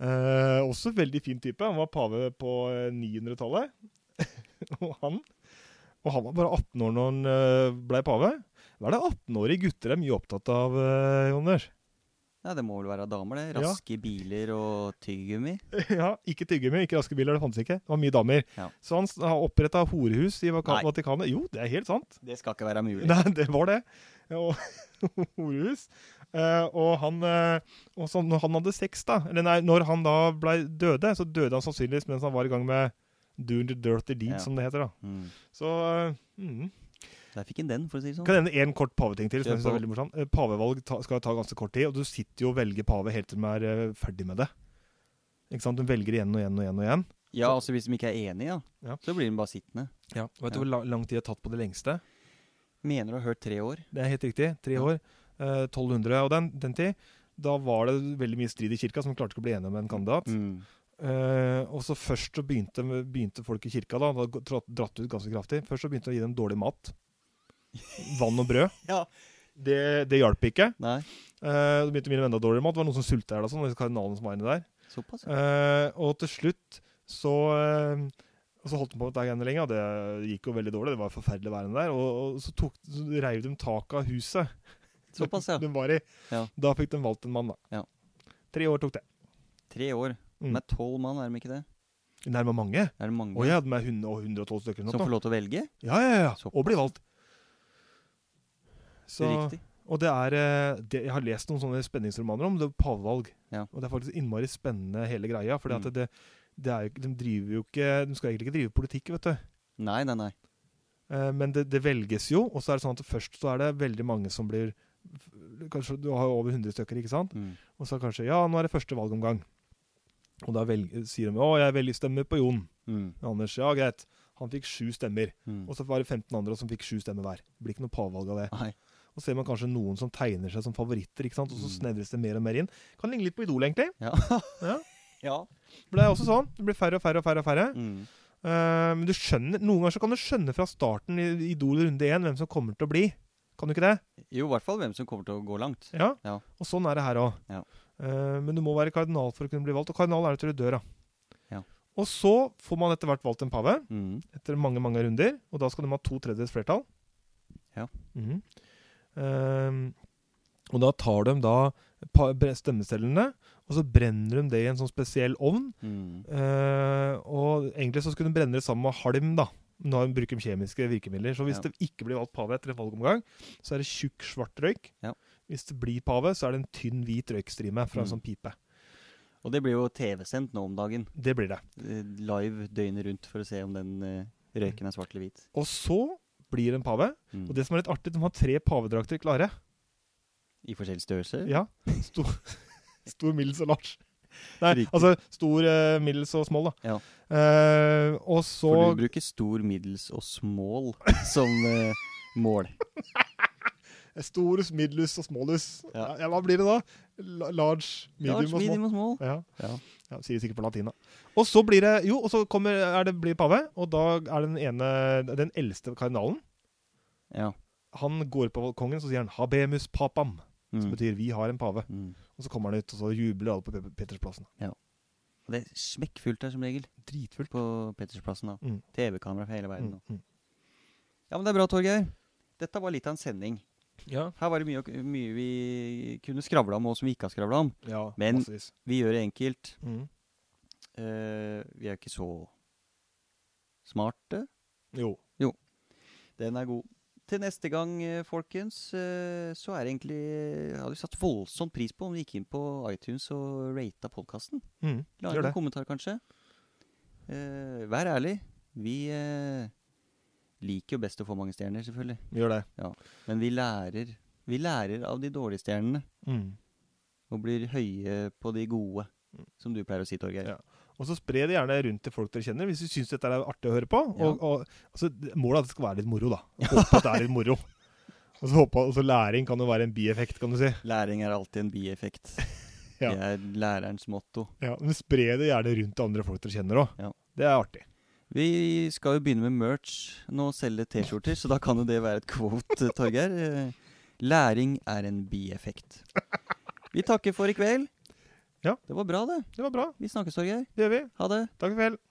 Speaker 2: Eh, også veldig fin type. Han var pave på eh, 900-tallet. og, han, og han var bare 18 år når han eh, ble pave. Hva er det 18-årige gutter er mye opptatt av, eh, Jonas?
Speaker 1: Nei, det må vel være damer, det.
Speaker 2: Ja.
Speaker 1: Raske biler og tyggegummi.
Speaker 2: Ja, Ikke tyggegummi, ikke raske biler, det fantes ikke. Det var mye damer.
Speaker 1: Ja.
Speaker 2: Så han s- har oppretta horehus i Vaka-
Speaker 1: Nei.
Speaker 2: Vatikanet. Jo, det er helt sant.
Speaker 1: Det skal ikke være mulig.
Speaker 2: Nei, det var det. Og horehus. Eh, og han, eh, og så når han hadde sex, da Eller nei, når han da ble døde, så døde han sannsynligvis mens han var i gang med doing the dirty deed,
Speaker 1: Ja.
Speaker 2: som det heter. da.
Speaker 1: Mm.
Speaker 2: Så eh, mm.
Speaker 1: Der fikk en den, for å si det sånn.
Speaker 2: Kan jeg nevne én kort paveting til.
Speaker 1: Kjør
Speaker 2: som jeg synes er
Speaker 1: på.
Speaker 2: veldig morsom. Eh, Pavevalg ta, skal ta ganske kort tid, og du sitter jo og velger pave helt til de er eh, ferdig med det. Ikke sant? Du velger igjen og igjen og igjen og igjen.
Speaker 1: Ja, altså Hvis de ikke er enige, ja,
Speaker 2: Ja.
Speaker 1: så blir de bare sittende.
Speaker 2: Ja. Vet
Speaker 1: Ja.
Speaker 2: du hvor la- lang tid det har tatt på det lengste?
Speaker 1: Mener du har hørt tre år?
Speaker 2: Det er helt riktig. Tre
Speaker 1: Ja.
Speaker 2: år. Eh, 1200 og den, den tid. Da var det veldig mye strid i kirka, som klarte ikke å bli enige om en kandidat.
Speaker 1: Mm.
Speaker 2: Eh, og så først så begynte, begynte folk i kirka, da, da hadde dratt- dratt ut ganske kraftig, først så begynte de å gi dem dårlig mat. Vann og brød.
Speaker 1: Ja.
Speaker 2: Det, det hjalp ikke.
Speaker 1: Nei,
Speaker 2: Eh, de begynte å gi dem enda dårligere mat. Det var noen som sulta i hjel og sånn. disse kardinalene som var inne der.
Speaker 1: såpass. ja.
Speaker 2: Eh, og til slutt så eh, og så holdt de på med dette greiene lenge, og det gikk jo veldig dårlig. Det var forferdelig værende der. Og, og så, tok, så reiv de tak av huset.
Speaker 1: Såpass, ja.
Speaker 2: De var i.
Speaker 1: Ja.
Speaker 2: Da fikk de valgt en mann, da.
Speaker 1: Ja.
Speaker 2: Tre år tok det.
Speaker 1: Tre år.
Speaker 2: Mm.
Speaker 1: De er tolv mann, er de ikke det?
Speaker 2: Nærma mange.
Speaker 1: Er det mange
Speaker 2: Og jeg hadde med 100 og 112 stykker. eller
Speaker 1: som
Speaker 2: noe
Speaker 1: får lov til å velge?
Speaker 2: sånt. Ja, ja, ja.
Speaker 1: Såpass.
Speaker 2: Og bli valgt. Så,
Speaker 1: Riktig.
Speaker 2: og det er eh, det, Jeg har lest noen sånne spenningsromaner om det pavevalg.
Speaker 1: Ja.
Speaker 2: Og det er faktisk innmari spennende, hele greia. For
Speaker 1: Mm.
Speaker 2: det, det er jo, ikke- de driver jo ikke De skal egentlig ikke drive politikk, vet du.
Speaker 1: Nei, nei, nei.
Speaker 2: Eh, Men det, det velges jo, og så er det sånn at først så er det veldig mange som blir kanskje Du har jo over 100 stykker, ikke sant?
Speaker 1: Mm.
Speaker 2: Og så kanskje Ja, nå er det første valgomgang. Og da velg- sier de Å, jeg velger stemmer på Jon.
Speaker 1: Mm.
Speaker 2: Anders, ja greit. Han fikk sju stemmer.
Speaker 1: Mm.
Speaker 2: Og så var det 15 andre som fikk sju stemmer hver. Det blir ikke noe pavevalg av det.
Speaker 1: Nei.
Speaker 2: Og så ser man kanskje noen som tegner seg som favoritter, ikke sant? og så
Speaker 1: Mm.
Speaker 2: snevres det mer og mer inn. Kan ligne litt på Idol, egentlig.
Speaker 1: Ja.
Speaker 2: Ja.
Speaker 1: ja.
Speaker 2: For det er også sånn. Det blir færre og færre og færre. og færre.
Speaker 1: Mm.
Speaker 2: Eh, men du skjønner, noen ganger så kan du skjønne fra starten i i Idol runde én hvem som kommer til å bli. Kan du ikke det?
Speaker 1: Jo, i hvert fall hvem som kommer til å gå langt.
Speaker 2: Ja.
Speaker 1: Ja.
Speaker 2: Og sånn er det her òg.
Speaker 1: Ja.
Speaker 2: men du må være kardinal for å kunne bli valgt, og kardinal er det til du dør av.
Speaker 1: Ja.
Speaker 2: Og så får man etter hvert valgt en pave,
Speaker 1: Mm.
Speaker 2: etter mange mange runder, og da skal de ha to tredjedels flertall.
Speaker 1: Ja.
Speaker 2: Mhm. Eh, og da tar de da pa- bre- stemmesedlene, og så brenner de det i en sånn spesiell ovn,
Speaker 1: Mm.
Speaker 2: Eh, og egentlig så skulle de brenne det sammen med halm, da. Når de bruker kjemiske virkemidler. Så hvis
Speaker 1: Ja.
Speaker 2: det ikke blir valgt pave etter en valgomgang, så er det tjukk, svart røyk.
Speaker 1: Ja.
Speaker 2: Hvis det blir pave, så er det en tynn, hvit røykstrime fra
Speaker 1: Mm.
Speaker 2: en sånn pipe.
Speaker 1: Og det blir jo TV-sendt nå om dagen.
Speaker 2: Det blir det.
Speaker 1: Eh, Live døgnet rundt for å se om den eh, røyken er svart eller hvit.
Speaker 2: Og så blir det en pave.
Speaker 1: Mm.
Speaker 2: Og det som er litt artig, de har tre pavedrakter klare.
Speaker 1: I forskjellige størrelser.
Speaker 2: Ja. Stor, stor middels og large. Nei,
Speaker 1: Riktig.
Speaker 2: altså stor, eh, middels og small, da.
Speaker 1: Ja.
Speaker 2: Eh, og så
Speaker 1: For du bruker stor, middels og small som eh, mål.
Speaker 2: Storus, middels og smallus.
Speaker 1: Ja.
Speaker 2: Ja, hva blir det da? La- Large, medium
Speaker 1: Large,
Speaker 2: og small.
Speaker 1: medium og small.
Speaker 2: Ja.
Speaker 1: Ja.
Speaker 2: ja Sier sikkert på latin, da. Og så blir det Jo, og så kommer, er det, blir det pave, og da er den ene Den eldste kardinalen
Speaker 1: Ja.
Speaker 2: Han går på balkongen, så sier han 'habemus papam', som
Speaker 1: Mm.
Speaker 2: betyr 'vi har en pave'.
Speaker 1: Mm.
Speaker 2: Og så kommer han ut, og så jubler alle på Pe- Petersplassen.
Speaker 1: Og det er smekkfullt der som regel
Speaker 2: Dritfullt.
Speaker 1: på Pettersplassen. da.
Speaker 2: Mm.
Speaker 1: TV-kamera for hele verden.
Speaker 2: Mm,
Speaker 1: da.
Speaker 2: mm.
Speaker 1: Ja, men det er bra, Torgeir. Dette var litt av en sending.
Speaker 2: Ja.
Speaker 1: Her var det mye, å- mye vi kunne skravla om, og som vi ikke har skravla om.
Speaker 2: ja
Speaker 1: Men-
Speaker 2: massevis.
Speaker 1: Vi gjør det enkelt.
Speaker 2: Mm.
Speaker 1: Eh, vi er ikke så smarte.
Speaker 2: Jo.
Speaker 1: Den er god. Til neste gang, eh, folkens, eh, så er det egentlig Jeg hadde satt voldsomt pris på om du gikk inn på iTunes og rata podkasten.
Speaker 2: Mm.
Speaker 1: La
Speaker 2: Gjør
Speaker 1: inn en
Speaker 2: det.
Speaker 1: kommentar, kanskje. Eh, vær ærlig. Vi eh, liker jo best å få mange stjerner, selvfølgelig.
Speaker 2: Gjør det.
Speaker 1: Men vi lærer. Vi lærer av de dårlige stjernene
Speaker 2: Mm.
Speaker 1: og blir høye på de gode, som du pleier å si, Torgeir.
Speaker 2: Ja. Og så spre det gjerne rundt til folk dere kjenner, hvis du syns dette er artig å høre på.
Speaker 1: Ja.
Speaker 2: Og, og, altså, målet er at det skal være litt moro, da. Håpe at det er litt moro. Og så håpe, og så læring kan jo være en bieffekt, kan du si.
Speaker 1: Læring er alltid en bieffekt.
Speaker 2: Ja.
Speaker 1: Det er lærerens motto.
Speaker 2: Ja, men spre det gjerne rundt til andre folk dere kjenner òg.
Speaker 1: Ja.
Speaker 2: Det er artig.
Speaker 1: Vi skal jo begynne med merch nå, og selge T-skjorter, så da kan jo det være et quote, Torgeir. Eh, Læring er en bieffekt. Vi takker for i kveld.
Speaker 2: Ja.
Speaker 1: Det var bra, det.
Speaker 2: Det var bra.
Speaker 1: Vi snakkes, Torgeir.
Speaker 2: Det gjør vi.
Speaker 1: Ha det.
Speaker 2: Takk for i kveld.